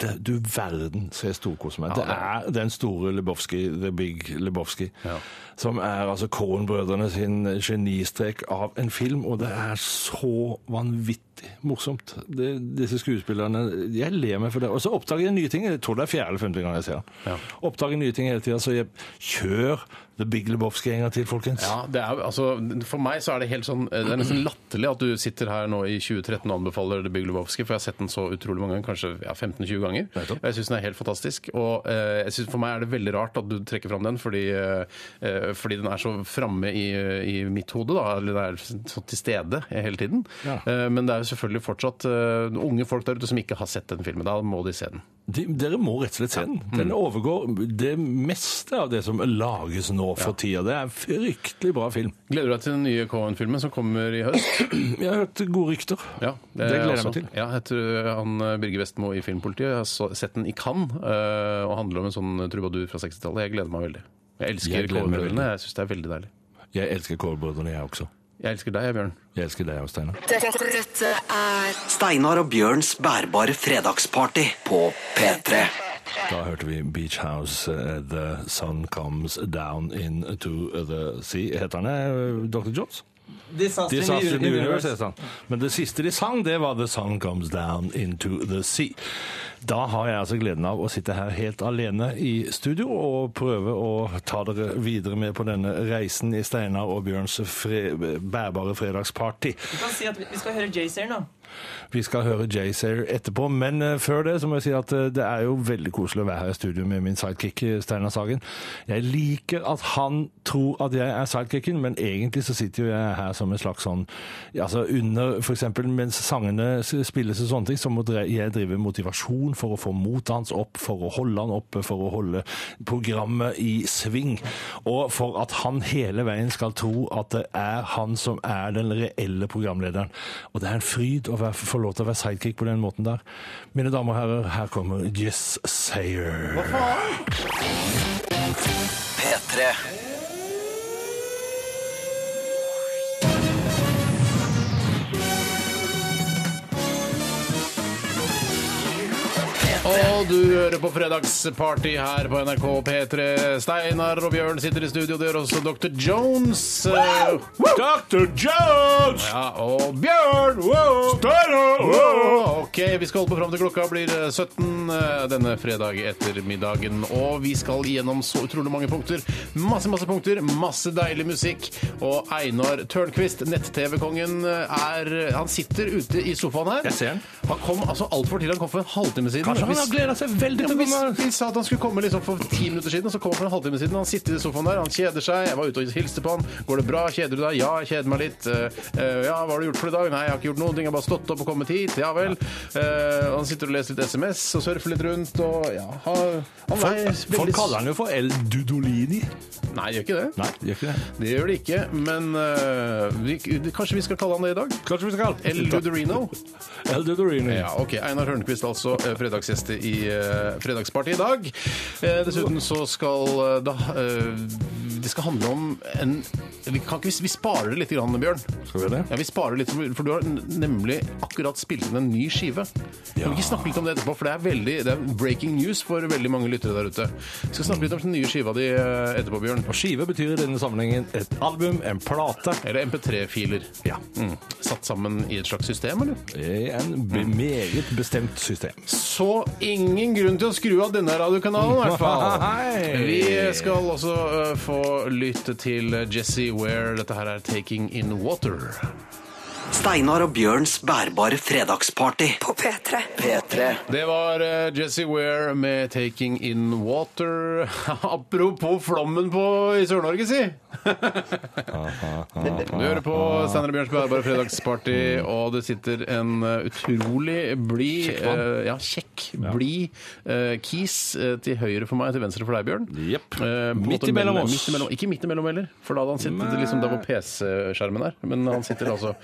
C: det, du verden så jeg storkoser meg. det er den store Lebowski, The Big Lebowski,
B: Ja.
C: som er altså Coen-brødrene sin genistrek av en film, og det er så vanvittig morsomt. Det, disse skuespillerne, jeg ler meg for det. Og så oppdager jeg nye ting. Jeg tror det er fjerde eller femte gang jeg ser den.
B: Ja.
C: Oppdager nye ting hele tida, så jeg kjør The Big Lebowski en gang til, folkens.
B: Ja, det er, altså, For meg så er det helt sånn eh, Det er nesten latterlig at du sitter her nå i 2013 og anbefaler The Big Lebowski, for jeg har sett den så utrolig mange ganger, kanskje ja, 15-20 ganger.
C: Nettopp.
B: Og jeg syns den er helt fantastisk. Og eh, jeg synes, for meg er det veldig rart at du trekker fram den, fordi, eh, eh, fordi den er så framme i, i mitt hode, da. Eller den er så til stede hele tiden.
C: Ja.
B: Eh, men det er jo selvfølgelig fortsatt eh, unge folk der ute som ikke har sett den filmen. Da må de se den.
C: De, dere må rett og slett se
B: Mm.
C: den. Den overgår det meste av det som lages nå for tida. Det er en fryktelig bra film.
B: Gleder du deg til den nye Cohen-filmen som kommer i høst?
C: Jeg har hørt gode rykter.
B: Ja,
C: Det gleder jeg
B: også.
C: meg til.
B: Ja, jeg tror han eh, Birger Vestmo i Filmpolitiet har så- sett den i Cannes, eh, og handler om en sånn trubadur fra 60-tallet. Jeg gleder meg veldig. Jeg elsker
C: Jeg gleder meg
B: Kålbrødrene. Jeg syns det er veldig deilig.
C: Jeg elsker Kålbrødrene, jeg også.
B: Jeg elsker deg, jeg, Bjørn.
C: Jeg elsker deg også, Steinar.
D: Dette, dette er
A: Steinar og Bjørns bærbare fredagsparty på P3.
C: Da hørte vi Beach House, eh, The Sun Comes Down Into The Sea. Heter han eh, Dr. Jones?
E: Disaster,
C: De sa
E: in the
C: Astrid Universe,
E: Universe.
C: heter han. Men det siste de sang, det var The Sun Comes Down Into The Sea. Da har jeg altså gleden av å sitte her helt alene i studio og prøve å ta dere videre med på denne reisen i Steinar og Bjørns fre bærbare fredagsparty.
E: Du kan si at vi, vi skal høre Jayzer nå.
C: Vi skal høre Jayzer etterpå, men eh, før det så må jeg si at eh, det er jo veldig koselig å være her i studio med min sidekick eh, Steinar Sagen. Jeg liker at han tror at jeg er sidekicken, men egentlig så sitter jo jeg her som en slags sånn ja, altså under for eksempel mens sangene s- spilles og sånne ting, så må dre- jeg drive motivasjon for å få motet hans opp, for å holde han oppe, for å holde programmet i sving. Og for at han hele veien skal tro at det er han som er den reelle programlederen. Og det er en fryd å være, få lov til å være sidekick på den måten der. Mine damer og herrer, her kommer Yes Sayer.
A: P3.
B: Og du hører på fredagsparty her på NRK P3. Steinar og Bjørn sitter i studio, det gjør også Dr. Jones. eh,
C: Dr. Jones!
B: Ja, og Bjørn! Wow!
C: Steinar!
B: Wow! Ok, vi skal holde på fram til klokka blir eh, 17 eh, denne fredag ettermiddagen. Og vi skal gjennom så utrolig mange punkter. Masse, masse punkter, masse deilig musikk. Og Einar Tørnquist, nett-TV-kongen, eh, er Han sitter ute i sofaen her.
C: Jeg ser han.
B: Han kom altså altfor tidlig. Han kom for en halvtime siden.
C: Kanskje han
B: Hvis-
C: har gleda seg veldig
B: ja,
C: til
B: men
C: å komme
B: vi, vi sa at han skulle komme liksom for ti minutter siden, og så kom han for en halvtime siden. Han sitter i sofaen der, han kjeder seg. Jeg var ute og hilste på han. Går det bra? Kjeder du deg? Ja, jeg kjeder meg litt. Eh, eh, ja, hva har du gjort for i dag? Nei, jeg har ikke gjort noen ting. Jeg har bare stått opp og kommet hit. Ja vel. Eh, han sitter og leser litt SMS og surfer litt rundt og ja har- han er
C: Folk,
B: veldig-
C: folk kaller han jo for El Dudolini.
B: Nei, gjør ikke det.
C: Nei, gjør ikke det.
B: Det gjør de ikke, men eh, vi, kanskje vi skal kalle han det i dag?
C: Kanskje vi skal
B: El Dudorino.
C: El Dudolini.
B: Ja, ok. Einar Hørnquist, altså eh, fredagsgjest i eh, Fredagspartiet i dag. Eh, Dessuten så skal eh, da eh, det skal handle om en Vi, kan ikke, vi sparer det litt, grann, Bjørn.
C: Skal vi det?
B: Ja, vi sparer litt, For du har n- nemlig akkurat spilt inn en ny skive. Kan vi ikke snakke litt om det etterpå, for det er, veldig, det er breaking news for veldig mange lyttere der ute. Vi skal snakke litt om den nye skiva di eh, etterpå, Bjørn.
C: Og skive betyr i denne sammenhengen et album, en plate.
B: Eller MP3-filer.
C: Ja.
B: Mm. Satt sammen i et slags system, eller?
C: I en be- meget bestemt system.
B: Så ingen grunn til å skru av denne radiokanalen, i hvert fall.
C: Nei.
B: Vi skal også eh, få lytte til Jesse Ware. Dette her er 'Taking In Water'.
A: Steinar og Bjørns bærbare fredagsparty.
D: På P3.
A: P3.
B: Det var eh, Jesse Ware med 'Taking In Water'. Apropos flommen på i Sør-Norge, si! Du hører på Steinar og Bjørns bærbare fredagsparty, og det sitter en eh, utrolig blid
C: Kjekk mann.
B: eh, Ja, kjekk, blid eh, kis eh, til høyre for meg, til venstre for deg, Bjørn.
C: Jepp.
B: Eh, på en
C: Midt
B: måte
C: imellom
B: mellom-
C: oss.
B: midt imellom- Ikke midt imellom heller, for da hadde han sittet liksom der hvor PC-skjermen er. Men han sitter altså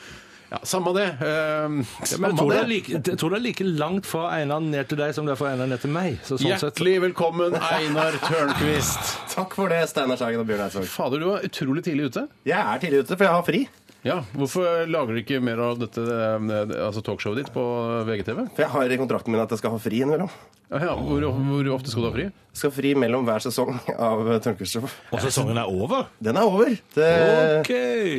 B: Ja, samme det. eh,
C: Men jeg
B: samme
C: tror, det er
B: det.
C: like, jeg tror det er like langt fra Einar ned til deg som det er fra Einar ned til meg. Så sånn sett
B: Hjertelig velkommen, Einar Tørnquist.
F: Takk for det, Steinar Sagen og Bjørn Eidsvåg.
B: Fader, du var utrolig tidlig ute.
F: Jeg er tidlig ute, for jeg har fri.
B: Ja, Hvorfor lager du ikke mer av dette eh, altså talkshowet ditt på VGTV?
F: For jeg har i kontrakten min at jeg skal ha fri innimellom.
B: Ja, hvor, hvor ofte skal du ha fri?
F: Jeg skal ha fri mellom hver sesong av Tørnquist Show.
C: Og sesongen er over.
F: Den er over. Det,
C: Eh, OK.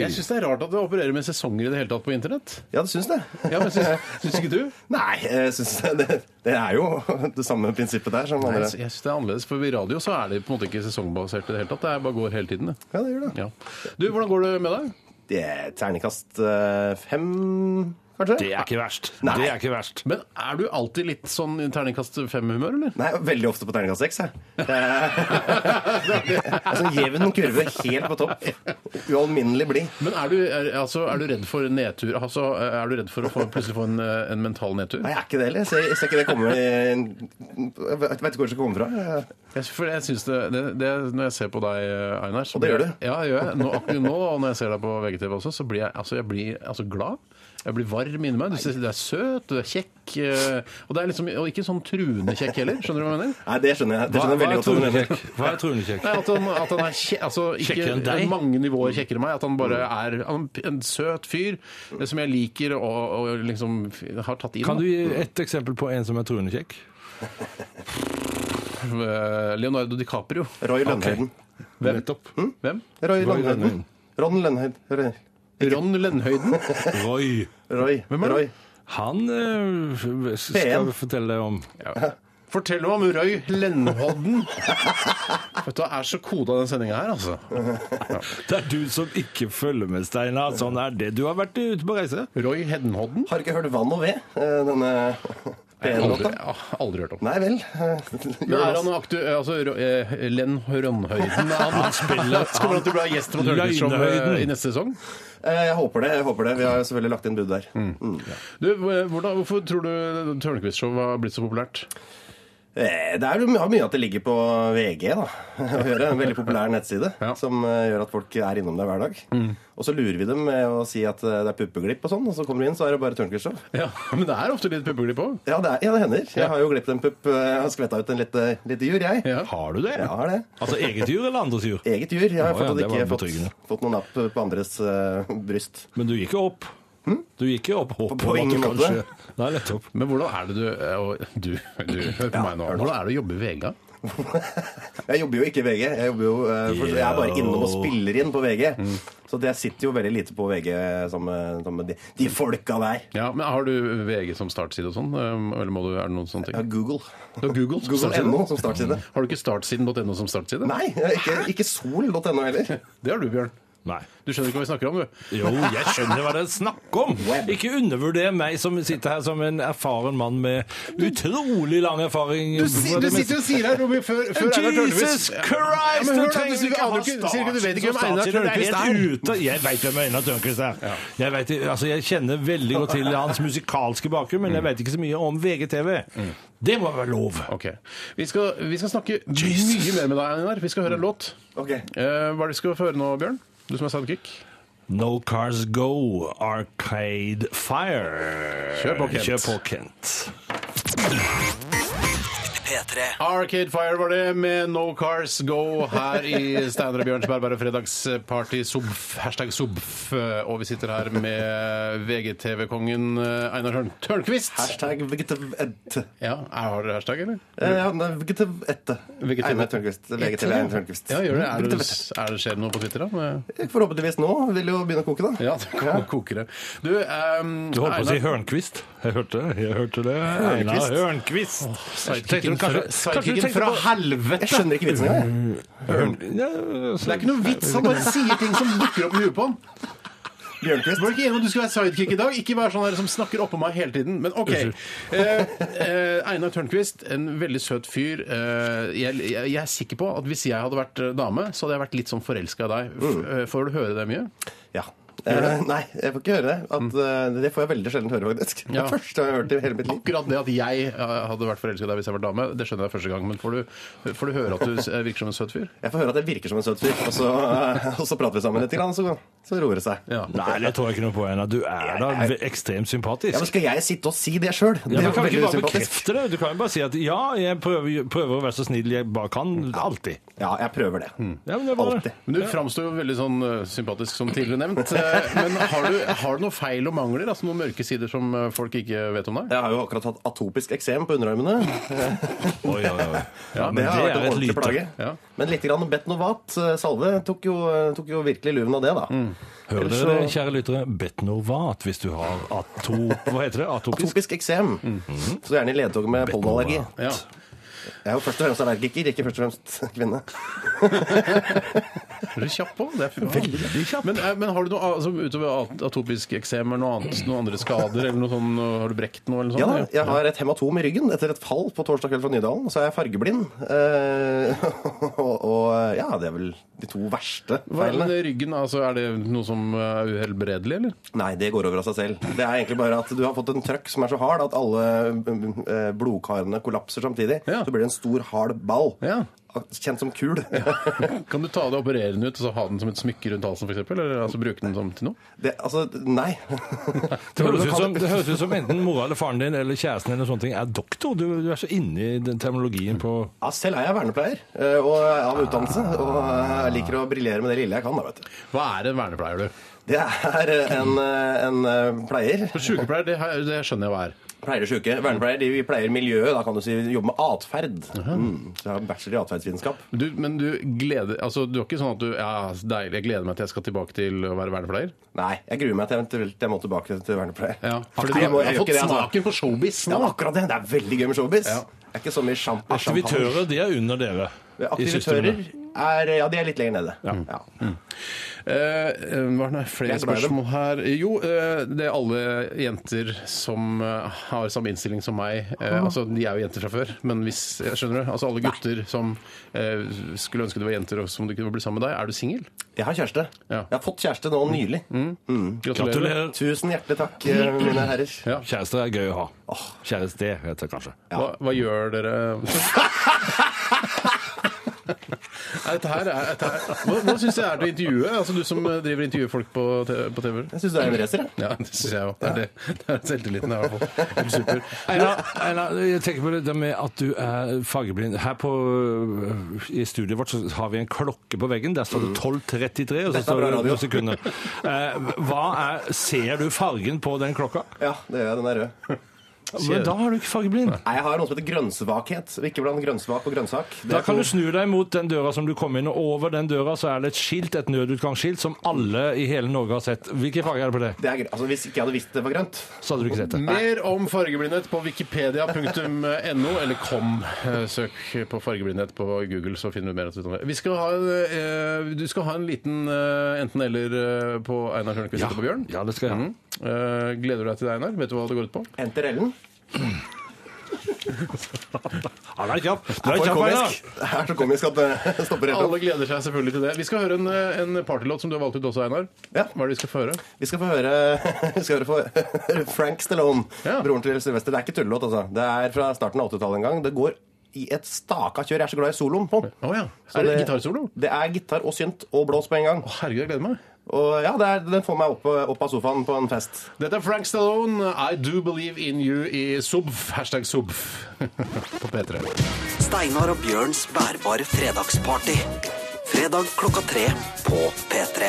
B: Jeg syns det er rart at du opererer med sesonger i det hele tatt på internett.
F: Ja, det syns det.
B: Ja, men syns, syns ikke du?
F: Nei, jeg syns det, det, det er jo det samme prinsippet der som
B: Nei,
F: andre.
B: jeg sy- jeg syns det er annerledes, for i radio så er det på en måte ikke sesongbasert i det hele tatt. Det er bare går hele tiden, det.
F: Ja, det gjør det.
B: Ja. Du, hvordan går det med deg?
F: Det er terningkast eh, fem, kanskje?
C: Det er ikke verst.
F: Nei.
C: Det er ikke verst.
B: Men er du alltid litt sånn i terningkast fem-humør, eller?
F: Nei, veldig ofte på terningkast seks, jeg. Det er- Altså jevn kurve helt på topp. Ualminnelig blid.
B: Men er du, er, altså, er du redd for nedtur? Altså, er du redd for å få, plutselig få en, eh, en mental nedtur?
F: Nei, jeg er ikke det heller. Jeg ser, jeg ser ikke det komme i- Jeg vet ikke hvor det skal komme fra.
B: Jeg, for jeg synes det, det, det, når jeg ser på deg, eh, Einar så
F: Og det
B: blir
F: gjør
B: jeg- Ja, jeg gjør jeg. Nå, akkurat nå, og når jeg ser deg på VGTV også, så blir jeg, altså, jeg blir, altså, glad. Jeg blir varm inni meg. Du, synes du er søt, du er kjekk. eh, Og, det er liksom, og ikke sånn truende kjekk heller. Skjønner du hva jeg mener?
F: Nei, det skjønner jeg. Det skjønner jeg veldig godt. hva du mener.
C: Hva er Trunekjekk?
B: Nei, at han, at han er kje, altså,
C: Kjekkere enn
B: ikke
C: deg?
B: mange nivåer kjekkere enn meg. At han bare er han, er en søt fyr eh, som jeg liker og, og liksom f- har tatt inn.
C: Kan
B: da.
C: du gi et eksempel på en som er trunekjekk?
B: Eh, Leonardo DiCaprio.
F: Roy Lønnhøyden.
B: Hvem?
C: Hm?
B: Hvem?
F: Roy
C: Lønnhøyden.
F: Lønnhøyden. Ron Lønnhøyd. Roy.
B: Ron Lønnhøyden.
C: Roy.
F: Roy.
B: Hvem er det?
F: Roy.
C: Han eh, skal
F: P1.
C: vi fortelle deg om.
B: Fortell meg om Roy Lennhodden. Vet du, hva, er så koda den sendinga her, altså.
C: Det er du som ikke følger med, Steinar. Sånn er det. Du har vært ute på reise.
B: Roy Heddenhodden?
F: Har du ikke hørt Vann og ved, eh, denne
B: Aldri,
F: P1-låta?
B: ja, aldri hørt om.
F: Nei vel. eh,
B: Men er
F: Gjør det
B: han
F: også.
B: aktu... Altså, Ro- eh, Len Ronhøyden er han spiller Så kommer han til å bli gjest på Tørnquist-showet
C: Løgnhøyden.
B: i neste sesong?
F: Eh, Jeg håper det. jeg håper det. Vi har selvfølgelig lagt inn bud der.
B: Mm. Du, eh, hvordan, hvorfor tror du Tørnquist-show har blitt så populært?
F: Eh, Det er jo my- har mye at det ligger på VG da, å gjøre. En veldig populær nettside
B: Ja. Mm.
F: som eh, gjør at folk er innom det hver dag. Og så lurer vi dem med å si at eh, det er puppeglipp og sånn, og så kommer de inn, så er det bare Tørnquist-show.
B: Ja, Men det er ofte litt puppeglipp òg.
F: Ja, det er, ja, det hender. Jeg har jo glippet en pupp. eh, Jeg har skvetta ut en lite, lite jur, jeg.
B: Ja.
C: Har du det?
F: Jeg har det.
C: Altså eget jur eller andres jur?
F: Eget jur. Jeg
C: Å,
F: har
C: ja,
F: fortsatt
C: det var
F: ikke
C: betryggende.
F: fått, fått noen napp på andres eh, bryst.
C: Men du gikk jo opp. Du gikk jo opp håpet om
F: På
C: at du
F: ingen måte.
C: kanskje- Nei, nettopp.
B: Men hvordan er det du eh, og Du, du hør på meg nå. Hvordan er det å jobbe i VG?
F: Jeg jobber jo ikke i VG. Jeg, jobber jo, eh, for, jeg er bare innom og spiller inn på VG. Så jeg sitter jo veldig lite på VG sammen med, sammen med de, de folka der.
B: Ja, men Har du VG som startside og sånn? eh, Eller må du, er det noen sånne
F: Ja,
B: ting?
F: Google.
B: Du har Google som startside.
F: Google.no som startside.
B: Har du ikke startsiden.no som startside?
F: Nei, ikke, ikke sol.no heller.
B: Det har du, Bjørn.
C: Nei.
B: Du skjønner ikke hva vi snakker om, du.
C: Jo, jeg skjønner hva det er snakk om!
F: Web.
C: Ikke undervurder meg som sitter her som en erfaren mann med utrolig lang erfaring.
B: si- du sitter jo og sier her Robby, før, før Einar Tørnquist
C: Jesus Christ!
B: men hør
C: du
B: da, du
C: trenger
B: sier ikke-
C: ikke
B: aner
C: ha
B: ikke- sier ikke du vet ikke hvem
C: start-
B: Einar
C: som startside.
B: Tørnquist
C: Det er helt ute. Jeg vet hvem Einar Tørnquist er. Jeg, vet, altså, jeg kjenner veldig godt til hans musikalske bakgrunn, men jeg vet ikke så mye om VGTV. Det må være lov.
B: Ok. Vi skal, vi skal snakke
C: Jesus.
B: mye mer med deg, Einar. Vi skal høre en låt.
F: Ok.
B: Eh, hva er det vi skal få høre nå, Bjørn? Du som er sidekick.
C: No Cars Go, Arcade Fire.
B: Kjør på, Kent.
C: Kjør på, Kent.
A: P3.
B: Arcade Fire var det med No Cars Go her i Steinar og Bjørns Bærbare fredagsparty. Subf, hashtag subf. Og vi sitter her med VGTV-kongen eh, Einar Hørn Tørnquist.
F: Hashtag vegetivette.
B: Ja, har dere hashtag, eller?
F: Ja, vegetivette.
B: Vegetiv-
F: Einar Tørnquist. VGTV Einar Tørnquist.
B: Ja, gjør det. Er det,
F: Vegetivette.
B: er det skjer det noe på Twitter, da?
F: Forhåpentligvis nå. Vil jo begynne å koke, da.
B: Ja, det kan koke det. Du, ehm,
C: Du holdt på å si
B: Einar,
C: Hørnquist. Jeg hørte det. Jeg hørte det. Einar Hørnquist. Tenkte
B: sidekicken
C: du
B: fra,
C: kanskje- kanskje
B: sidekicken
C: du tenkte
B: fra
C: på-
F: Jeg
B: helvete!
F: skjønner ikke vitsen engang. jeg.
C: Ja,
B: Det er ikke noe vits, han bare sier ting som dukker opp i huet på han.
F: Bjørnquist.
B: Var det ikke enig om at du skal være sidekick i dag? Ikke være sånn her som snakker oppå meg hele tiden. Men OK. Eh, eh, Einar Tørnquist, en veldig søt fyr. Eh, jeg, jeg, jeg er sikker på at hvis jeg hadde vært eh, dame, så hadde jeg vært litt sånn forelska i deg. F eh, Får du høre det mye?
F: Ja. Eh, nei, jeg får ikke høre det.
C: Mm.
F: At, eh, det får jeg veldig sjelden høre, faktisk. Det
B: Ja.
F: er første gang jeg har hørt det i hele mitt liv.
B: Akkurat det at jeg eh, hadde vært forelska i deg hvis jeg var dame, det skjønner jeg første gang. Men får du, får du høre at du eh, virker som en søt fyr?
F: Jeg får høre at jeg virker som en søt fyr, og så, eh, og så prater vi sammen litt, grann, så, så roer det seg.
B: Ja.
C: Nei, det tror jeg ikke noe på, Einar. Du er da ve- ekstremt sympatisk.
F: Ja, men Skal jeg sitte og si det sjøl?
C: Ja, men kan du ikke bare bekrefte det? Du kan jo bare si at ja, jeg prøver, prøver å være så snill jeg bare kan. Alltid.
F: Ja, jeg prøver det.
C: Ja, men det var
F: Alltid.
C: det.
B: Men du framstår jo veldig sånn eh, sympatisk, som tidligere nevnt. Eh, Men har du, har du noen feil og mangler? Altså noen mørke sider som eh, folk ikke vet om deg?
F: Jeg har jo akkurat hatt atopisk eksem på underarmene.
C: Oi, oi, oi. Ja, men
F: Det har
C: det er
F: vært en
C: et
F: ordentlig plage.
C: lite
B: Ja.
F: Men litt grann Betnovat eh, salve tok jo, eh, tok jo virkelig luven av det, da.
C: Mm. Hører
F: Ellers
C: dere det,
F: så-
C: kjære lyttere? Betnovat hvis du har atop... Hva heter det? Atopisk?
F: Atopisk eksem.
C: Mm.
F: Så gjerne i ledtog med pollenallergi.
B: Ja.
F: Jeg er jo først og fremst allergiker, ikke først og fremst kvinne.
B: Er du kjapp på? Det er Veldig kjapp. Men, eh, men har du noe altså, utover at- atopisk eksem eller noe annet, noen andre skader? Eller noe sånn, eh, har du brekt noe? Eller
F: Ja da,
B: sånt,
F: jeg har et hematom i ryggen etter et fall på torsdag kveld fra Nydalen. Så er jeg fargeblind. Eh, og, og ja, det er vel de to verste
B: Hva er det
F: feilene.
B: med ryggen? Altså, er det noe som eh, er uhelbredelig, eller?
F: Nei, det går over av seg selv. Det er egentlig bare at du har fått en trøkk som er så hard at alle eh, blodkarene kollapser samtidig.
B: Ja.
F: Så blir det en stor, hard ball.
B: Ja.
F: Kjent som kul.
B: Kan du ta det opererende ut og så ha den som et smykke rundt halsen, f.eks.? Eller altså, bruke den som til noe?
F: Det, altså, nei.
C: Det høres, ut som, det høres ut som enten mora eller faren din eller kjæresten din eller sånne ting er doktor. Du, du er så inne i den terminologien på
F: Ja, selv er jeg vernepleier eh, og av utdannelse. Og jeg liker å briljere med det lille jeg kan, da, vet du.
B: Hva er en vernepleier, du?
F: Det er eh, en, eh, en eh, pleier
B: For Sykepleier, det, har- det skjønner jeg hva er.
F: Pleier og syke. Vernepleier de pleier miljøet. Da kan du si jobbe med atferd. Mm. Så jeg har bachelor i atferdsvitenskap.
B: Du, men du gleder Altså, du er ikke sånn at du Ja, deilig, jeg gleder meg til jeg skal tilbake til å være vernepleier?
F: Nei, jeg gruer meg til eventuelt jeg må tilbake til vernepleier.
B: Ja, fordi
F: Nei,
B: du
F: jeg må-
B: har, har
F: jeg gjør
B: fått
F: ikke det, altså.
B: smaken på showbiz
F: Ja,
B: nå.
F: men akkurat det. Det er veldig gøy med showbiz.
B: Ja.
F: Det er ikke så mye sjamp-
C: Aktivitører, de er under dere.
F: sjamp-
C: i
F: Aktivitører
C: systemet.
F: er, eh, ja, de er litt lenger nede. Ja.
B: Eh, eh, hva er det flere
F: Jeg er glad i dem.
B: spørsmål her? Jo, eh, det er alle jenter som eh, har samme innstilling som meg. Eh, altså, De er jo jenter fra før, men hvis eh, Skjønner du? Altså alle gutter som eh, skulle ønske de var jenter, og som du kunne bli sammen med deg. Er du singel?
F: Jeg har kjæreste.
B: Ja. Mm.
F: Jeg har fått kjæreste nå nylig.
C: Gratulerer.
F: Tusen hjertelig takk, eh, mine herrer.
C: Kjærester er gøy å ha. Kjæreste heter det kanskje.
B: Hva, hva gjør dere Nei, Dette her er dette her. Hva, hva syns jeg er til intervjuet? Altså, du som eh, driver og intervjuer folk på, te- på TV?
F: Jeg syns du er en racer, jeg.
B: Ja, det syns jeg òg. Det er, det. Det er selvtilliten her, i hvert fall. Helt Super.
C: Einar, Einar, jeg tenker på det der med at du er fargeblind. Her på, øh, i studiet vårt så har vi en klokke på veggen. Der står det 12.33, og så
F: er
C: står
F: bra
C: det
F: radio.
C: noen sekunder. Eh, Hva er, ser du fargen på den klokka?
F: Ja, det gjør jeg. Den er rød.
C: Men da er du ikke fargeblind.
F: Nei, jeg har noe som heter grønnsvakhet. Ikke blant grønnsvak og grønnsak. Det
C: Da
F: er
C: kan
F: to-
C: du snu deg mot den døra som du kom inn, og over den døra så er det et skilt, et nødutgangsskilt, som alle i hele Norge har sett. Hvilken farge er det på det?
F: det er, gr- altså, hvis ikke jeg hadde visst det var grønt
C: Så hadde du ikke sett det.
B: Mer om fargeblindhet på wikipedia.no eller kom. Eh, Søk på fargeblindhet på Google, så finner du mer ut om det. Vi skal ha en, eh, du skal ha en liten eh, enten-eller eh, på Einar Tørnquist og på Bjørn.
C: Ja, det skal jeg ha.
B: Eh, Gleder du deg til det, Einar? Vet du hva det går ut på?
F: Enter Ellen.
C: Han er kjapp! Du er kjapp,
F: For
C: Einar!
F: komisk. Det er så komisk at det stopper helt opp.
B: Alle gleder seg selvfølgelig til det. Vi skal høre en, eh, en partylåt som du har valgt ut også, Einar.
F: Ja.
B: Hva er det vi skal få høre?
F: Vi skal få høre, vi skal høre få- Frank Stallone,
B: Ja.
F: broren til Sylvester. Det er ikke tullelåt, altså. Det er fra starten av 80-tallet en gang. Det går i et staka kjør. Jeg er så glad i soloen på den.
B: Å ja.
F: Så
B: Er det gitarsolo?
F: Det er gitar og synt og blås på en gang.
B: Herregud, jeg gleder meg.
F: Og ja, det er, den får meg opp, opp av sofaen på en fest.
B: Dette er Frank Stallone, I Do Believe In You i Subf, hashtag Subf, på P3.
A: Steinar og Bjørns bærbare fredagsparty. Fredag klokka tre på P3.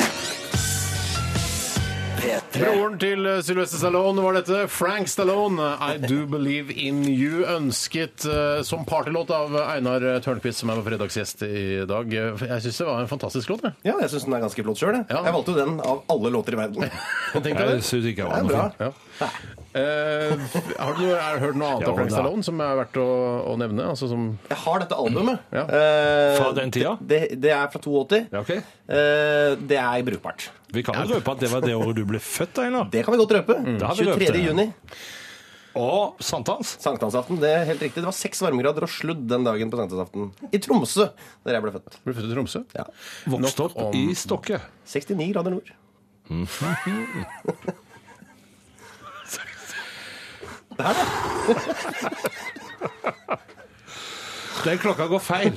A: P3.
B: Broren til eh, Sylvester Stallone var dette. Frank Stallone, I Do Believe In You, ønsket eh, som partylåt av Einar Tørnquist, som er vår fredagsgjest i dag. Jeg syns det var en fantastisk låt, jeg.
F: Ja, jeg syns den er ganske flott sjøl. jeg.
B: Ja.
F: Jeg valgte jo den av alle låter i verden.
B: Tenk deg
C: Jeg
B: det.
C: synes ikke jeg var noe
F: Det er bra.
C: fin.
B: Ja. Eh, har du noe, er, hørt noe annet
C: Ja,
B: av Frank
C: da.
B: Stallone som er verdt å, å nevne? Altså som
F: Jeg har dette albumet.
B: Ja.
F: Eh,
C: Mm. Fra den tida?
F: Det, det er fra 82.
C: Ja, ok.
F: Eh, det er brukbart.
C: Vi kan jo røpe at det var det året du ble født, Einar.
F: Det kan vi godt røpe.
C: Mm. Da har vi røpt
F: 23.
C: det.
F: juni.
C: Og sankthans.
F: Sankthansaften. Det er helt riktig. Det var seks varmegrader og sludd den dagen på sankthansaften. I Tromsø, der jeg ble født.
B: ble født i Tromsø?
F: Ja.
B: Nok
C: Vokste opp
B: om-
C: i Stokke.
F: 69 grader nord.
C: Den klokka går feil.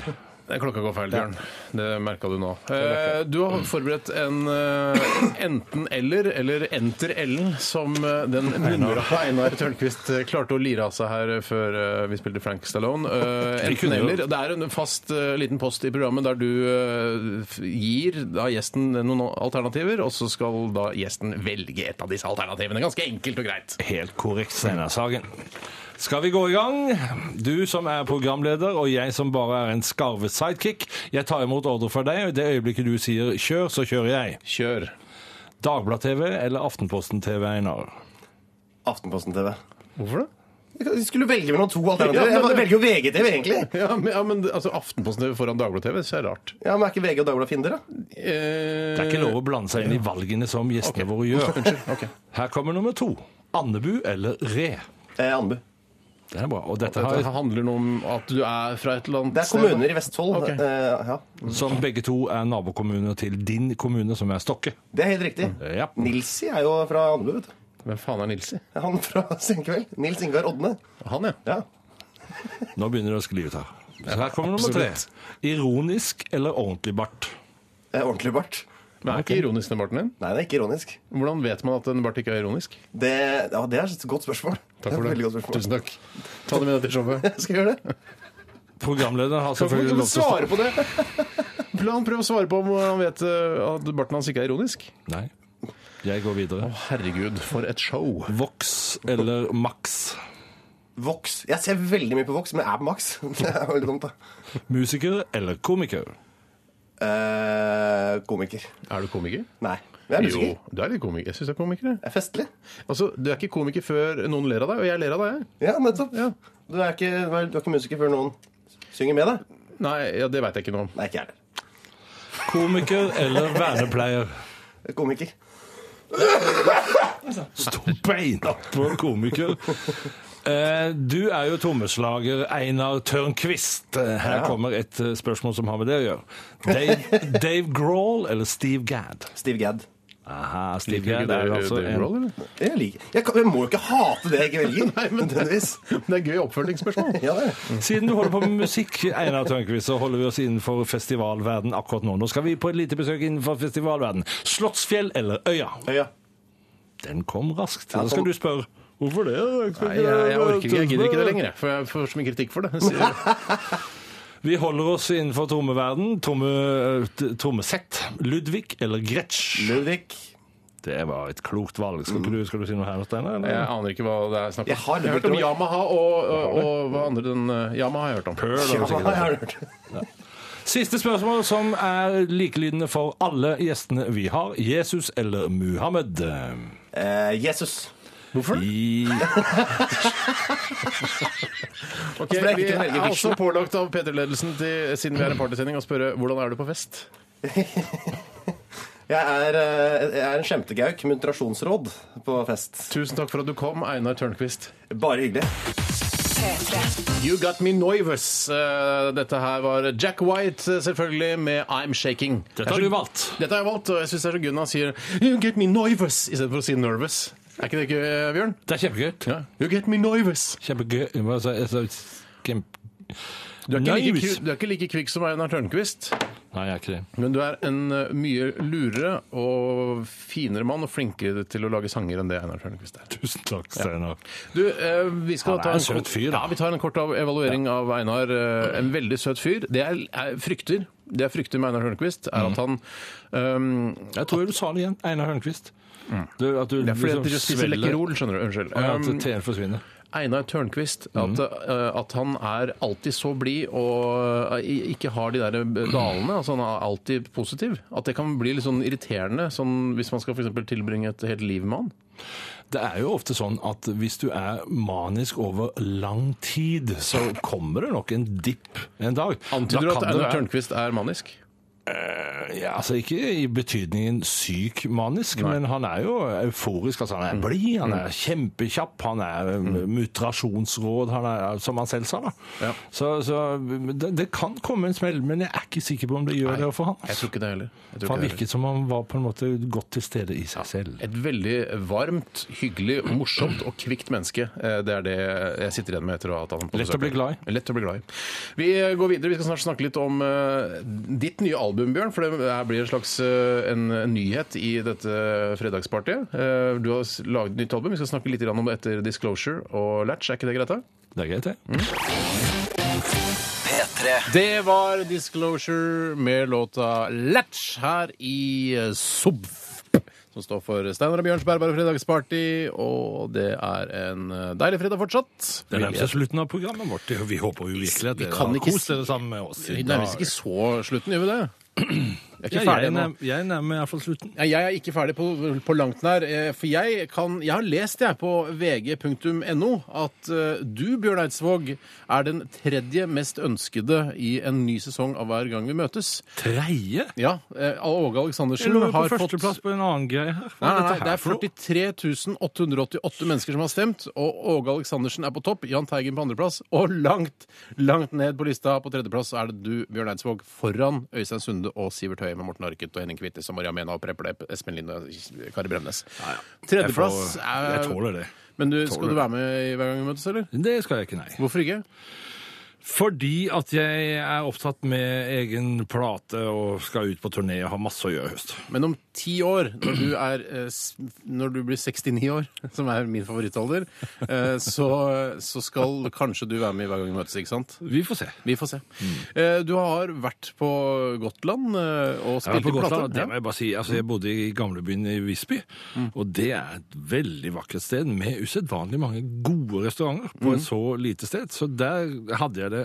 B: Det klokka går feil, Bjørn. Det merka du nå. Eh, du har forberedt en eh, enten-eller, eller Enter-Ellen, som eh, den mumra Einar Tørnquist eh, klarte å lire av seg her eh, før eh, vi spilte Frank Stallone. Eh,
C: Vi kunne jo-
B: enten-eller. Det er en fast eh, liten post i programmet der du eh, f- gir da gjesten noen alternativer, og så skal da gjesten velge et av disse alternativene. Ganske enkelt og greit.
C: Helt korrekt, Steinar Sagen. Skal vi gå i gang? Du som er programleder, og jeg som bare er en skarvet sidekick. Jeg tar imot ordre fra deg, og i det øyeblikket du sier 'kjør', så kjører jeg.
B: Kjør.
C: Dagblad-TV eller Aftenposten-TV, Einar?
F: Aftenposten-TV.
B: Hvorfor det?
F: Jeg skulle velge mellom to
B: Ja,
F: alternativer.
B: men-
F: Jeg bare velger jo VGTV, egentlig.
B: Ja, men, ja, men altså, Aftenposten foran Dagbladet-TV, så er det rart.
F: Ja, Men er ikke VG og Dagbladet fiender, da?
B: Eh,
C: Det er ikke lov å blande seg inn i valgene som gjestene våre gjør. Her kommer nummer to. Andebu eller Re?
F: Eh, Andebu.
C: Det er bra. Og dette
B: Dette
C: har,
B: handler noe om at du er fra et eller annet
F: Det er kommuner i Vestfold.
B: Ok.
F: Eh, ja.
C: som begge to er nabokommuner til din kommune, som er Stokke.
F: Det er helt riktig.
C: Ja.
F: Nilsi er jo fra Andebu, vet du.
B: Hvem faen er Nilsi?
F: Han fra Senkveld. Nils Ingvar Odne.
B: Han, ja.
F: Ja.
C: Nå begynner det å skli ut her. Så her kommer nummer tre.
B: Absolutt.
C: Ironisk eller ordentlig bart?
F: Eh, Ordentlig bart.
B: Men er ikke ironisk den barten din?
F: Nei, det er ikke ironisk.
B: Hvordan vet man at en bart ikke er ironisk?
F: Det, ja, det er et godt spørsmål.
B: Takk
F: er
B: for
F: et
B: det.
F: Veldig godt spørsmål.
B: Tusen takk. Ta det med deg til showet.
F: Skal jeg gjøre det?
C: Programlederen har
B: Hvorfor
C: selvfølgelig
B: kan du
C: lov til å
B: svare på det? La han prøve å svare på om han vet eh, at barten hans ikke er ironisk.
C: Nei. Jeg går videre.
B: Herregud, for et show.
C: Vox eller Max?
F: Vox. Jeg ser veldig mye på Vox, men jeg er på Max. Det er veldig dumt, da.
C: Musiker eller komiker?
F: Eh, komiker.
B: Er du komiker?
F: Nei. Men jeg er musiker.
B: Jo, du er litt komiker. Jeg syns du er komiker. jeg.
F: Jeg er festlig.
B: Altså, Du er ikke komiker før noen ler av deg, og jeg ler av deg. jeg.
F: Ja, nettopp.
B: Ja.
F: Du, er ikke, du er ikke musiker før noen synger med deg.
B: Nei, ja, det veit jeg ikke noe om.
F: Nei, ikke jeg heller.
C: Komiker eller vernepleier?
F: Komiker.
C: Stå beina på en komiker. Eh, Du er jo trommeslager Einar Tørnquist. Eh, Her kommer et eh, spørsmål som har med det å gjøre. Dave, Dave Grohl eller Steve Gadd?
F: Steve Gadd.
C: Aha, Steve
B: Liker du
C: Gadd er
B: Dave-
C: altså
B: Dave Grohl,
C: en
B: eller?
F: Jeg liker jeg, kan, jeg må jo ikke hate det jeg ikke velger. Nei, men nødvendigvis.
B: Det er gøy oppfølgingsspørsmål.
F: Ja, det er det.
C: Siden du holder på med musikk, Einar Tørnquist, så holder vi oss innenfor festivalverden akkurat nå. Nå skal vi på et lite besøk innenfor festivalverden. Slottsfjell eller Øya?
F: Øya.
C: Den kom raskt.
F: Ja,
C: Da skal
F: kom.
C: du spørre. Hvorfor det? Jeg,
B: Nei, jeg, jeg orker ikke, jeg gidder ikke det lenger. jeg, For jeg får så mye kritikk for det. Så-
C: Vi holder oss innenfor trommeverden. Tromme, t- trommesett. Ludvig eller Gretsch?
F: Ludvig.
C: Det var et klokt valg. Skal, ikke du, skal du si noe her, Steinar? eller?
B: Jeg aner ikke hva det er snakk om.
F: Jeg har
B: jeg har hørt om Yamaha og, og, og hva andre den eh, Yamaha har jeg hørt om.
C: Pearl,
F: Ja,
C: eller
F: jeg
C: sikkert.
F: har hørt.
C: Siste spørsmål, som er likelydende for alle gjestene vi har. Jesus eller Muhammed?
F: Eh, Jesus.
B: Hvorfor?
C: I
B: Ok,
F: det Altså, er
B: vi
F: ikke
B: er
F: veldig
B: også pålagt av P3-ledelsen til, siden vi er en partysending, å spørre hvordan er du på fest?
F: Jeg er, eh, jeg er en skjemtegauk med moderasjonsråd på fest.
B: Tusen takk for at du kom, Einar Tørnquist.
F: Bare hyggelig.
B: You got me nervous. Eh, Dette her var Jack White, eh, selvfølgelig, med I'm Shaking.
C: Dette har
B: Jeg er så-
C: du valgt.
B: Dette har jeg valgt, og jeg syns det er så gøy når han sier You get me nervous, istedenfor å si nervous. Er ikke det gøy, eh, Bjørn?
C: Det er kjempegøy.
B: Ja. You get me nervous.
C: Kjempegøy. altså, Hva sa jeg? Jeg sa kjempe-
B: Du er, ikke like,
C: Nervous.
B: kvi- du er ikke like kvikk som Einar Tørnquist.
C: Nei, jeg er ikke det.
B: Men du er en eh, mye lurere og finere mann og flinkere til å lage sanger enn det Einar Tørnquist er.
C: Tusen takk, Steinar.
B: Du, eh, vi skal
C: Han er
B: ta
C: en søt
B: kort-
C: fyr, da.
B: Ja, vi tar en kort av evaluering av Einar. eh, En veldig søt fyr. Det jeg jeg frykter, det jeg frykter med Einar Tørnquist, er
C: Mm.
B: at han ehm,
C: Jeg tror du sa det igjen. Einar Hønquist.
B: Mm.
C: Du, at du
B: Det er fordi
C: liksom
B: at de spiser
C: svelger-
B: Lekkerol, skjønner du. Unnskyld.
C: Ja, at
B: Um,
C: T-en forsvinner.
B: Einar Tørnquist,
C: Mhm.
B: at, eh, at han er alltid så blid og eh, i- ikke har de der eh, dalene. altså Han er alltid positiv. At det kan bli litt sånn irriterende sånn, hvis man skal for eksempel tilbringe et helt liv med han.
C: Det er jo ofte sånn at hvis du er manisk over lang tid, så kommer det nok en dipp en dag.
B: Antyder du at
C: Da kan det
B: Einar
C: være-
B: Tørnquist er manisk?
C: Ja, altså Ikke i betydningen syk manisk, men han er jo euforisk. altså
B: Mm.
C: Han er blid, han er kjempekjapp, han er eh, mutrasjonsråd, han er, som han selv sa. da.
B: Ja.
C: Så, så det, det kan komme en smell, men jeg er ikke sikker på om det gjør det for han. altså.
B: Jeg tror ikke det heller. Jeg tror
C: For han
B: ikke det heller.
C: virket som han var på en måte godt til stede i seg selv.
B: Et veldig varmt, hyggelig, morsomt og kvikt menneske. Eh, Det er det jeg sitter igjen med etter å ha hatt han på
C: Lett å
B: besøk.
C: bli glad i.
B: Lett å bli glad i. Vi går videre. Vi skal snart snakke litt om eh, ditt nye album, Bjørn. For det her blir en slags eh, en, en nyhet i dette fredagspartiet. Eh, Du har s- laget et nytt album. Vi skal snakke litt grann om det etter Disclosure og Latch. Er ikke det greit? da?
C: Det er greit, Mm. det.
A: P3.
B: Det var Disclosure med låta Latch her i eh, Subf. Som står for Steinar og Bjørns bærbare fredagsparty. Og det er en eh, deilig fredag fortsatt.
C: Det er nærmest slutten av programmet vårt. Vi håper jo virkelig at
B: Vi
C: dere
B: kan
C: har
B: ikke
C: kost
B: si-
C: dere sammen med oss. i
B: Vi
C: dag.
B: nærmer oss ikke så slutten, gjør vi det? Jeg er
C: Ja,
B: ikke
C: jeg,
B: ferdig
C: er
B: ennå.
C: nær- jeg nærmer i hvert fall slutten.
B: Nei, Jeg er ikke ferdig på, på langt nær. eh, For jeg, kan, jeg har lest jeg på vg.no at eh, du, Bjørn Eidsvåg, er den tredje mest ønskede i en ny sesong av Hver gang vi møtes.
C: Tredje?
B: Ja, eh, Åge Aleksandersen
C: Jeg lå jo på
B: har fått
C: førsteplass på en annen greie her. Hva
B: Nei,
C: er
B: nei,
C: dette
B: nei, det
C: her
B: er
C: for noe?
B: 43 888 mennesker som har stemt, og Åge Aleksandersen er på topp, Jahn Teigen på andreplass, og langt, langt ned på lista på tredjeplass er det du, Bjørn Eidsvåg, foran Øystein Sunde og Sivert Høie med Morten Arket og Henning Kvittis og Maria Mena og Preple, Espen Linde og Kari Bremnes. Tredjeplass
C: Jeg får-
B: er
C: Jeg tåler det.
B: Men du, skal du være med i Hver gang vi møtes, eller?
C: Det skal jeg ikke, nei.
B: Hvorfor ikke?
C: Fordi at jeg er opptatt med egen plate og skal ut på turné og har masse å gjøre i høst.
B: Men om ti år, når du, er, eh, s- når du blir 69 år, som er min favorittalder, eh, så, så skal kanskje du være med i Hver gang vi møtes, ikke sant?
C: Vi får se.
B: Vi får se.
C: Mm.
B: Eh, Du har vært på Gotland eh, og
C: Jeg,
B: spilt
C: var på
B: i plater.
C: Gotland, det må jeg, bare si. Altså, jeg bodde i gamlebyen i Visby, og det er et veldig vakkert sted med usedvanlig mange gode restauranter på et så lite sted. Så der hadde jeg det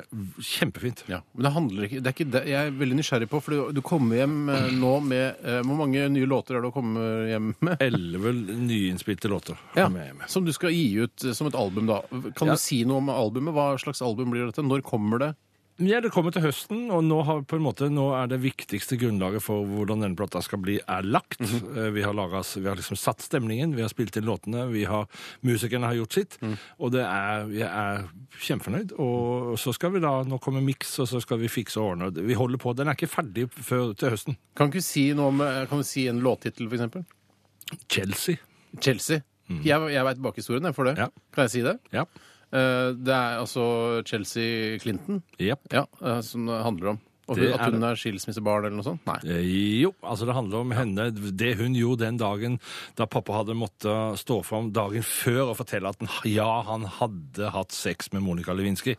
C: kjempefint.
B: Ja, men det handler ikke, det er ikke det Jeg er veldig nysgjerrig på, for du, du kommer hjem eh, nå med eh, Hvor mange nye låter er det du kommer hjem med?
C: Elleve nyinnspilte låter.
B: Ja,
C: kom jeg med.
B: Som du skal gi ut eh, som et album, da. Kan
C: Ja.
B: du si noe om albumet? Hva slags album blir dette? Når kommer det?
C: Ja, det kommer til høsten, og nå, har, på en måte, nå er det viktigste grunnlaget for hvordan denne plata skal bli, er lagt. Eh, Vi har, laget, vi har liksom satt stemningen, vi har spilt inn låtene, vi har, musikerne har gjort sitt, og det er, jeg er kjempefornøyd. Og så skal vi da, nå kommer mix, og så skal vi fikse og ordne. Vi holder på, den er ikke ferdig før til høsten.
B: Kan du ikke si noe om eh, Kan du si en låttittel, for eksempel?
C: Chelsea.
B: Chelsea. Jeg, jeg veit bakhistorien jeg, for det.
C: Mm. Ja.
B: Kan jeg si det?
C: Ja.
B: Eh, det er altså Chelsea Clinton
C: Jep.
B: ja, eh, som det handler om. Og
C: Det
B: hun,
C: er
B: at hun er skilsmissebarn eller noe sånt? Nei.
C: Eh, Jo, altså det handler om henne, det hun gjorde den dagen da pappa hadde måttet stå fram dagen før og fortelle at han- ja, han hadde hatt sex med Monica Lewinsky.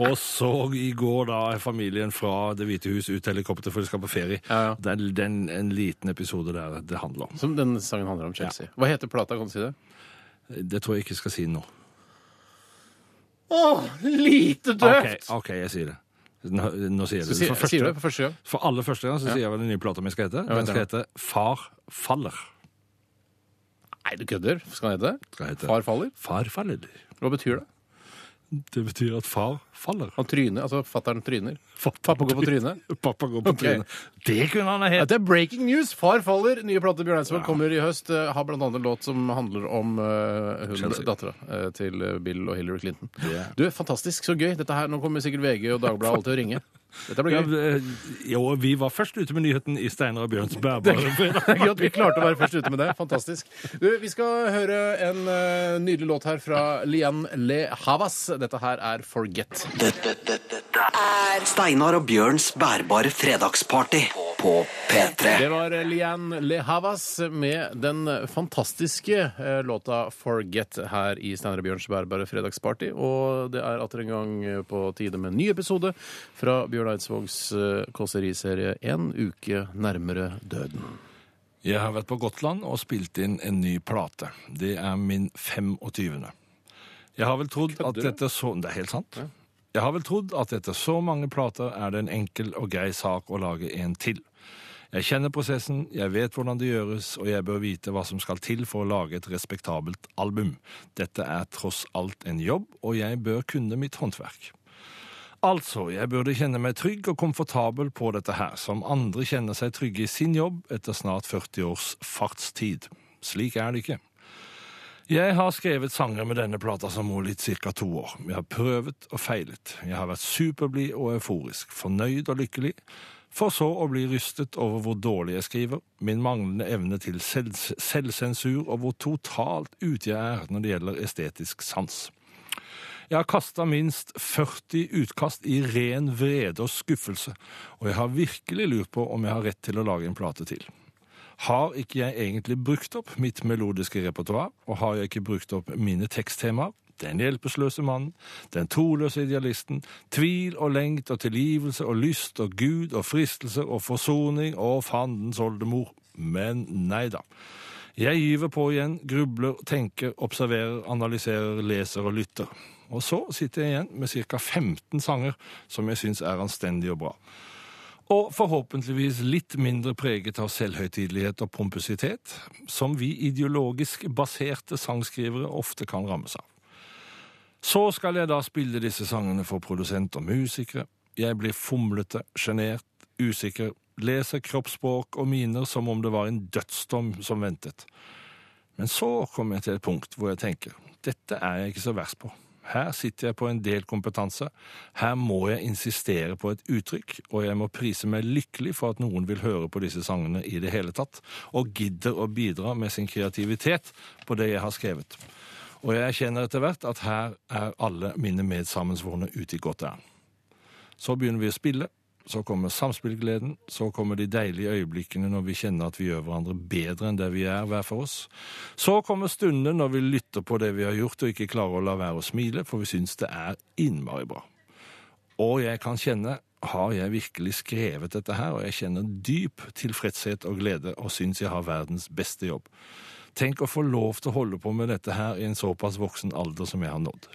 C: Og så i går da er familien fra Det hvite hus ut i helikopter for de skal på ferie.
B: Ja, ja.
C: Det er den, en liten episode der det handler om.
B: Som den sangen handler om Chelsea. Hva heter plata, kan du si det?
C: Det tror jeg ikke jeg skal si nå.
B: Å, lite
C: Ok, ok, jeg sier det. Nå, nå sier jeg det.
B: Sier,
C: For første-
B: sier du det for første gang?
C: For aller første gang så sier jeg hva den nye plata mi skal hete. Den
B: vet
C: skal
B: det.
C: hete Far faller.
B: Nei, du kødder. Skal den hete det?
C: Skal hete.
B: Far faller?
C: Far faller.
B: Hva betyr det?
C: Det betyr at far faller.
B: Han tryner, altså fattern tryner. Pappa går på trynet.
C: Pappa går på
B: Ok.
C: trynet. Det kunne han ha
B: Ja,
C: hett!
B: det er breaking news! Far faller. Nye plate Bjørn Eidsvåg kommer i høst. Eh, Har blant annet en låt som handler om eh, hun,
C: Chelsea.
B: dattera eh, til Bill og Hillary Clinton.
C: Det er-
B: Du, fantastisk. Så gøy. Dette her, Nå kommer sikkert VG og Dagbladet alle til å ringe. Dette blir gøy.
C: Ja, Jo, vi var først ute med nyheten i Steinar og Bjørns
B: eh,
C: bærbare
B: Det er
C: fredag.
B: Gøy at vi klarte å være først ute med det. Fantastisk. Du, vi skal høre en eh, nydelig låt her fra Lian Le Havas. Dette her er 'Forget'.
A: Dette, dette, dette er Steinar og Bjørns bærbare fredagsparty på P3.
B: Det var Lian Le Havas med den fantastiske eh, låta 'Forget' her i Steinar og Bjørns bærbare fredagsparty. Og det er atter en gang eh, på tide med en ny episode fra Bjørn Eidsvågs eh, kåseriserie 'En uke nærmere døden'.
C: Jeg har vært på Gotland og spilt inn en ny plate. Det er min 25. Jeg har vel trodd at dette så Det er helt sant. Jeg har vel trodd at etter så mange plater er det en enkel og grei sak å lage en til. Jeg kjenner prosessen, jeg vet hvordan det gjøres, og jeg bør vite hva som skal til for å lage et respektabelt album. Dette er tross alt en jobb, og jeg bør kunne mitt håndverk. Altså, jeg burde kjenne meg trygg og komfortabel på dette her, som andre kjenner seg trygge i sin jobb etter snart 40 års fartstid. Slik er det ikke. Jeg har skrevet sanger med denne plata som mål i ca. to år. Jeg har prøvet og feilet. Jeg har vært superblid og euforisk, fornøyd og lykkelig, for så å bli rystet over hvor dårlig jeg skriver, min manglende evne til selv selvsensur og hvor totalt ute jeg er når det gjelder estetisk sans. Jeg har kasta minst 40 utkast i ren vrede og skuffelse, og jeg har virkelig lurt på om jeg har rett til å lage en plate til. Har ikke jeg egentlig brukt opp mitt melodiske repertoar, og har jeg ikke brukt opp mine teksttemaer? Den hjelpeløse mannen, den troløse idealisten, tvil og lengt og tilgivelse og lyst og Gud og fristelser og forsoning og fandens oldemor. Men nei da. Jeg gyver på igjen, grubler, tenker, observerer, analyserer, leser og lytter. Og så sitter jeg igjen med ca. 15 sanger som jeg syns er anstendige og bra. Og forhåpentligvis litt mindre preget av selvhøytidelighet og pompøsitet, som vi ideologisk baserte sangskrivere ofte kan rammes av. Så skal jeg da spille disse sangene for produsent og musikere. Jeg blir fomlete, sjenert, usikker, leser kroppsspråk og miner som om det var en dødsdom som ventet. Men så kommer jeg til et punkt hvor jeg tenker dette er jeg ikke så verst på. Her sitter jeg på en del kompetanse, her må jeg insistere på et uttrykk, og jeg må prise meg lykkelig for at noen vil høre på disse sangene i det hele tatt, og gidder å bidra med sin kreativitet på det jeg har skrevet. Og jeg erkjenner etter hvert at her er alle mine medsammensvorne ute i godt ærend. Så begynner vi å spille. Så kommer samspillgleden. Så kommer de deilige øyeblikkene når vi kjenner at vi gjør hverandre bedre enn der vi er hver for oss. Så kommer stundene når vi lytter på det vi har gjort og ikke klarer å la være å smile, for vi syns det er innmari bra. Og jeg kan kjenne har jeg virkelig skrevet dette her, og jeg kjenner dyp tilfredshet og glede og syns jeg har verdens beste jobb. Tenk å få lov til å holde på med dette her i en såpass voksen alder som jeg har nådd.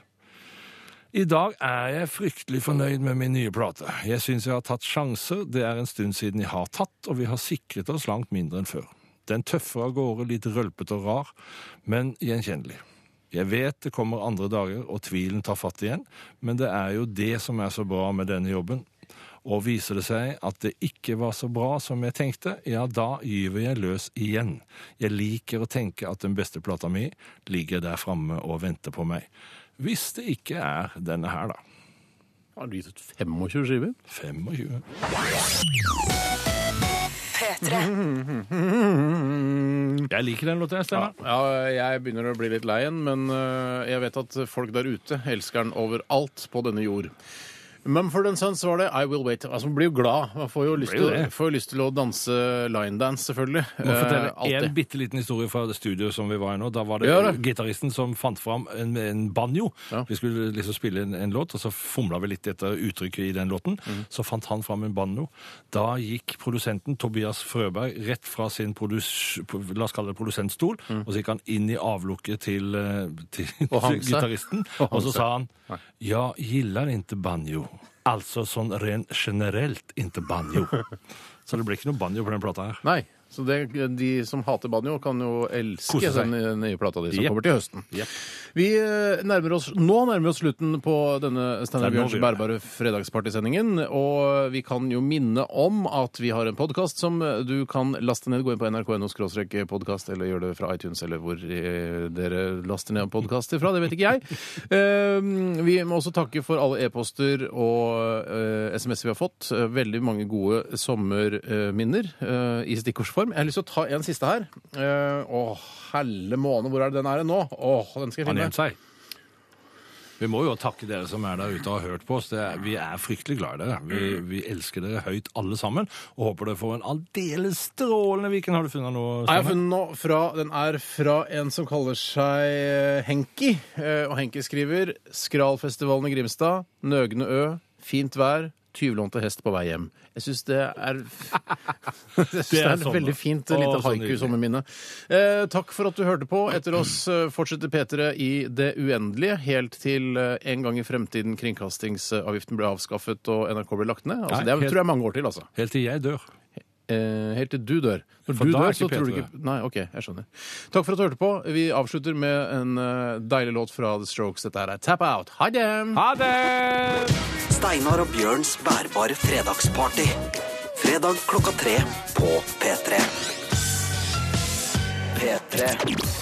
C: I dag er jeg fryktelig fornøyd med min nye plate. Jeg syns jeg har tatt sjanser, det er en stund siden jeg har tatt, og vi har sikret oss langt mindre enn før. Den tøffer av gårde, litt rølpete og rar, men gjenkjennelig. Jeg vet det kommer andre dager, og tvilen tar fatt igjen, men det er jo det som er så bra med denne jobben. Og viser det seg at det ikke var så bra som jeg tenkte, ja, da gyver jeg løs igjen. Jeg liker å tenke at den beste plata mi ligger der framme og venter på meg. Hvis det ikke er denne her, da.
B: Har du gitt ut 25 skiver?
C: 25. Jeg liker den låta, jeg,
B: Ja,
C: Steinar.
B: ja, jeg begynner å bli litt lei igjen, men øh, jeg vet at folk der ute elsker den overalt på denne jord. Mumford Sons var det I Will Wait. Altså, Man blir jo glad. Man får jo lyst,
C: Blir jo
B: til,
C: det.
B: får jo lyst til å danse linedance, selvfølgelig.
C: Må fortelle
B: Eh, alltid.
C: en bitte liten historie fra det studioet som vi var i nå. Da var det
B: Gjør det.
C: gitaristen som fant fram en, en banjo.
B: Ja.
C: Vi skulle liksom spille en, en låt, og så fomla vi litt etter uttrykket i den låten.
B: Mhm.
C: Så fant han fram en banjo. Da gikk produsenten Tobias Frøberg rett fra sin produs, la oss kalle det produsentstol, og så gikk han inn i avlukket til, eh, til,
B: Mhm. Og hang seg.
C: gitaristen,
B: Og hang
C: og så
B: seg.
C: sa han Ja, gillar inte banjo. Altså sånn rent generelt inte banjo. Så det ble ikke noe banjo på den plata her.
B: Nei, Så det, de som hater banjo, kan jo elske
C: Kose seg.
B: den nye plata di som
C: Jepp.
B: kommer til høsten. Vi eh, nærmer oss, Nå nærmer vi oss slutten på denne Steinar
C: Det er nå
B: Bjørns
C: vi gjør det.
B: bærbare fredagspartysendingen. Og vi kan jo minne om at vi har en podkast som du kan laste ned. Gå inn på nrk.no podkast, eller gjør det fra iTunes, eller hvor eh, dere laster ned podkaster fra. Det vet ikke jeg. Eh, Vi må også takke for alle e-poster og eh, SMS vi har fått. Eh, Veldig mange gode sommerminner eh, i stikkordsform. Jeg har lyst til å ta en siste her. Eh, Å, helle måne, hvor er det den er nå? Åh, den skal jeg
C: Han
B: finne.
C: gjemt seg. Vi må jo takke dere som er der ute og har hørt på oss. Det er, vi er fryktelig glad i dere. Vi,
B: Mm.
C: vi elsker dere høyt alle sammen, og håper dere får en aldeles strålende weekend. Har du funnet
B: Nei,
C: noe?
B: Jeg har
C: Steinar?
B: funnet noe fra, Den er fra en som kaller seg eh, Henki. Eh, Og Henki skriver Skralfestivalen i Grimstad, Nøgne Ø, fint vær, tyvlånte hest på vei hjem. Jeg syns det er Jeg synes det
C: Det er
B: er et
C: sommer.
B: veldig fint eh,
C: Å,
B: lite
C: så
B: haiku-sommerminne. Eh, takk for at du hørte på. Etter oss eh, fortsetter P3 i det uendelige, helt til eh, en gang i fremtiden kringkastingsavgiften ble avskaffet og NRK ble lagt ned. Altså,
C: Nei,
B: det er-
C: helt-
B: tror jeg er mange år til, altså.
C: Helt til jeg dør.
B: Eh, helt til du dør. Når
C: For
B: du
C: da er
B: dør,
C: ikke
B: så tror du
C: Peter
B: ikke Nei, OK, jeg skjønner. Takk for at du hørte på. Vi avslutter med en eh, deilig låt fra The Strokes. Dette her er Tap Out. Ha det!
C: Ha det!
A: Steinar og Bjørns bærbare fredagsparty. Fredag klokka tre på P3. P3.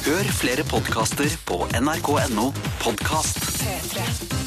A: Hør flere podkaster på nrk.no podkast.
D: P3.